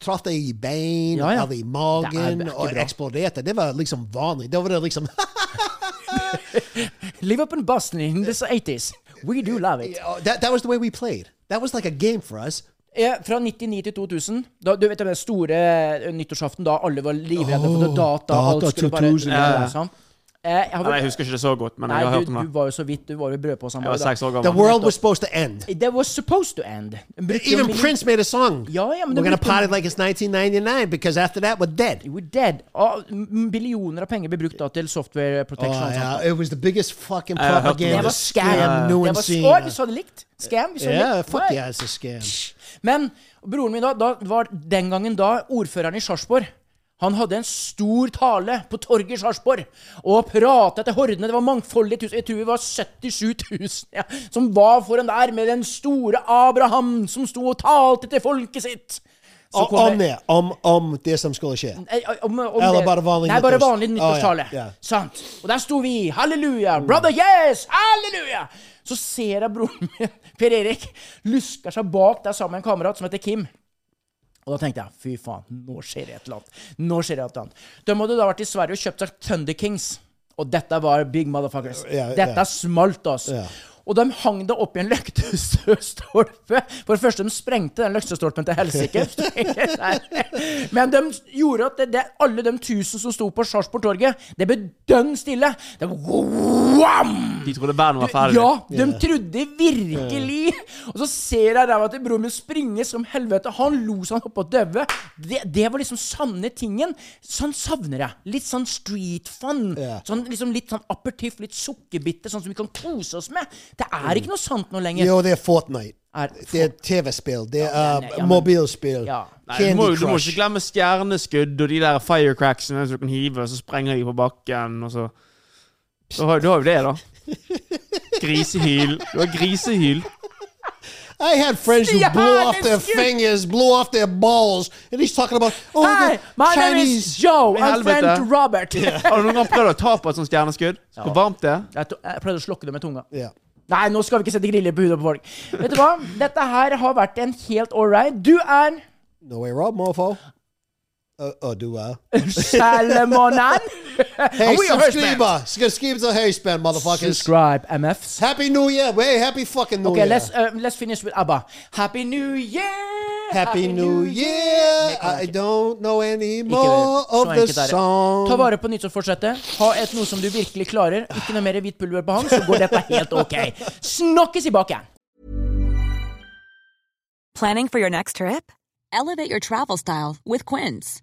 S2: traff deg i bein
S3: Ja, ja.
S2: eller i
S3: Det er
S2: magen
S3: ikke
S2: og
S3: bra.
S2: eksploderte, det var liksom vanlig. Da var det liksom
S3: Live up in Boston in the 80s. We do love it.
S2: Oh, that, that was the way we played. That was like a game for us.
S3: Eh, Fra 99 til 2000, da, du vet den store eh, nyttårsaften da alle var livredde for data, alt
S2: data
S3: skulle bare
S2: 2000,
S3: Ja,
S5: ja.
S3: ja, sant? Eh, jeg har vel-
S5: Nei, Jeg husker ikke det så godt, men
S3: Nei,
S5: jeg har hørt
S3: du,
S5: om
S3: du
S5: det.
S3: var jo så vidt Du var jo brødposen.
S5: Jeg var seks år
S2: The
S5: gammel.
S2: world was supposed to end.
S3: That was supposed to end. Brukte jo
S2: Even
S3: milli-
S2: Prince made a song.
S3: Ja, ja, men
S2: We're
S3: det
S2: gonna
S3: brukte-
S2: party like it's 1999 because after that we're dead.
S3: We're dead. Og m- billioner av penger ble brukt da til software
S2: Oh,
S3: protection. sant?
S2: yeah, it was the biggest fucking
S5: I heard
S3: Det
S2: propaganda
S3: var
S2: scam
S3: scam.
S2: no
S3: det
S2: one's
S3: var,
S2: seen.
S3: Å, vi så det likt. Scam. Vi så det
S2: Yeah,
S3: likt.
S2: fuck
S3: Nei.
S2: yeah, it's a scam.
S3: Men broren min da, da var den gangen da ordføreren i Sarpsborg. Han hadde en stor tale på torget i Sarpsborg og pratet til hordene. Det var mangfoldige tusen. Jeg tror vi var 77 000 ja, som var foran der med den store Abraham som sto og talte til folket sitt. Så
S2: Om,
S3: kom
S2: Oh, om
S3: det-
S2: det, om, om det som skulle skje.
S3: Eh, Om, om
S2: Eller
S3: det-
S2: bare vanlig
S3: Nei, bare
S2: nyttårs-
S3: vanlig nyttårstale.
S2: Ah, ja, ja.
S3: Sant. Og der sto vi. Halleluja! Brother, yes! Halleluja! Så ser jeg broren min, Per Erik, lusker seg bak der sammen med en kamerat som heter Kim. Og da tenkte jeg fy faen, nå skjer det et eller annet. Nå skjer det et eller annet. De hadde da vært i Sverige og kjøpt seg Thunder Kings. Og dette var big motherfuckers.
S2: Ja, ja.
S3: Dette smalt, altså.
S2: Ja.
S3: Og de hang det opp i en løktestolpe. For det første, de sprengte den løktestolpen til helsike. Men de gjorde at det, det, alle de tusen som sto på Sarpsborg torget, det ble dønn stille. Det var wham!
S5: De trodde verden var ferdig.
S3: Ja, de trodde virkelig! Og så ser jeg ræva til broren min springe som helvete. Han lo så han holdt på å daue. Det, det var liksom sanne tingen. Sånn savner jeg. Litt sånn street fun.
S2: Ja.
S3: Sånn, liksom litt sånn apertiff, litt sukkerbitter, sånn som vi kan kose oss med. Det er ikke noe sant nå lenger.
S2: Mm. Jo, det er Fortnite.
S3: Er-
S2: det er TV-spill. Det er uh,
S3: men- ja, men-
S2: mobilspill.
S3: Ja.
S5: Nei, du, må,
S2: Candy
S5: du må
S2: Crush.
S5: ikke glemme stjerneskudd og de der firecracksene som du kan hive, og så sprenger de på bakken, og så Da har da har vi det, da. Grisehyl. Du har grisehyl.
S2: I had friends who
S3: Yeah,
S2: blew off their
S3: excuse-
S2: fingers, blew off their balls, and he's talking about oh
S3: Hi,
S2: the
S3: my name is
S2: Chinese.
S3: Joe. I'm
S5: Helvete.
S3: friend to Robert.
S5: Har du noen gang prøvd å ta på et sånt stjerneskudd? Hvor varmt det er?
S3: Jeg, to, jeg prøvde å slokke det med tunga.
S2: Ja.
S3: Nei, nå skal vi ikke sette griller på hudet på folk. Vet du hva? Dette her har vært en helt all right. Du er
S2: No way, Rob Mofo. Uh, oh, do I?
S3: Salemonan.
S2: Hey,
S3: Are we a husband?
S2: subscriber. Subscribe to Hey Span, motherfuckers.
S3: Subscribe, MFs.
S2: Happy New Year. Way happy fucking New
S3: Okay,
S2: Year.
S3: let's uh, let's finish with ABBA. Happy New Year!
S2: Happy New Year.
S3: Ikke
S2: I don't know any
S3: det.
S2: more
S3: Så
S2: of the
S3: enkelt er det. Ta
S2: song.
S3: vare på nyttårsforsettet. Ha et noe som du virkelig klarer. Ikke noe mer hvitt pulver på han, så går dette helt ok. Snakkes i baken!
S7: Planning for your next trip? Elevate your travel style with Quince.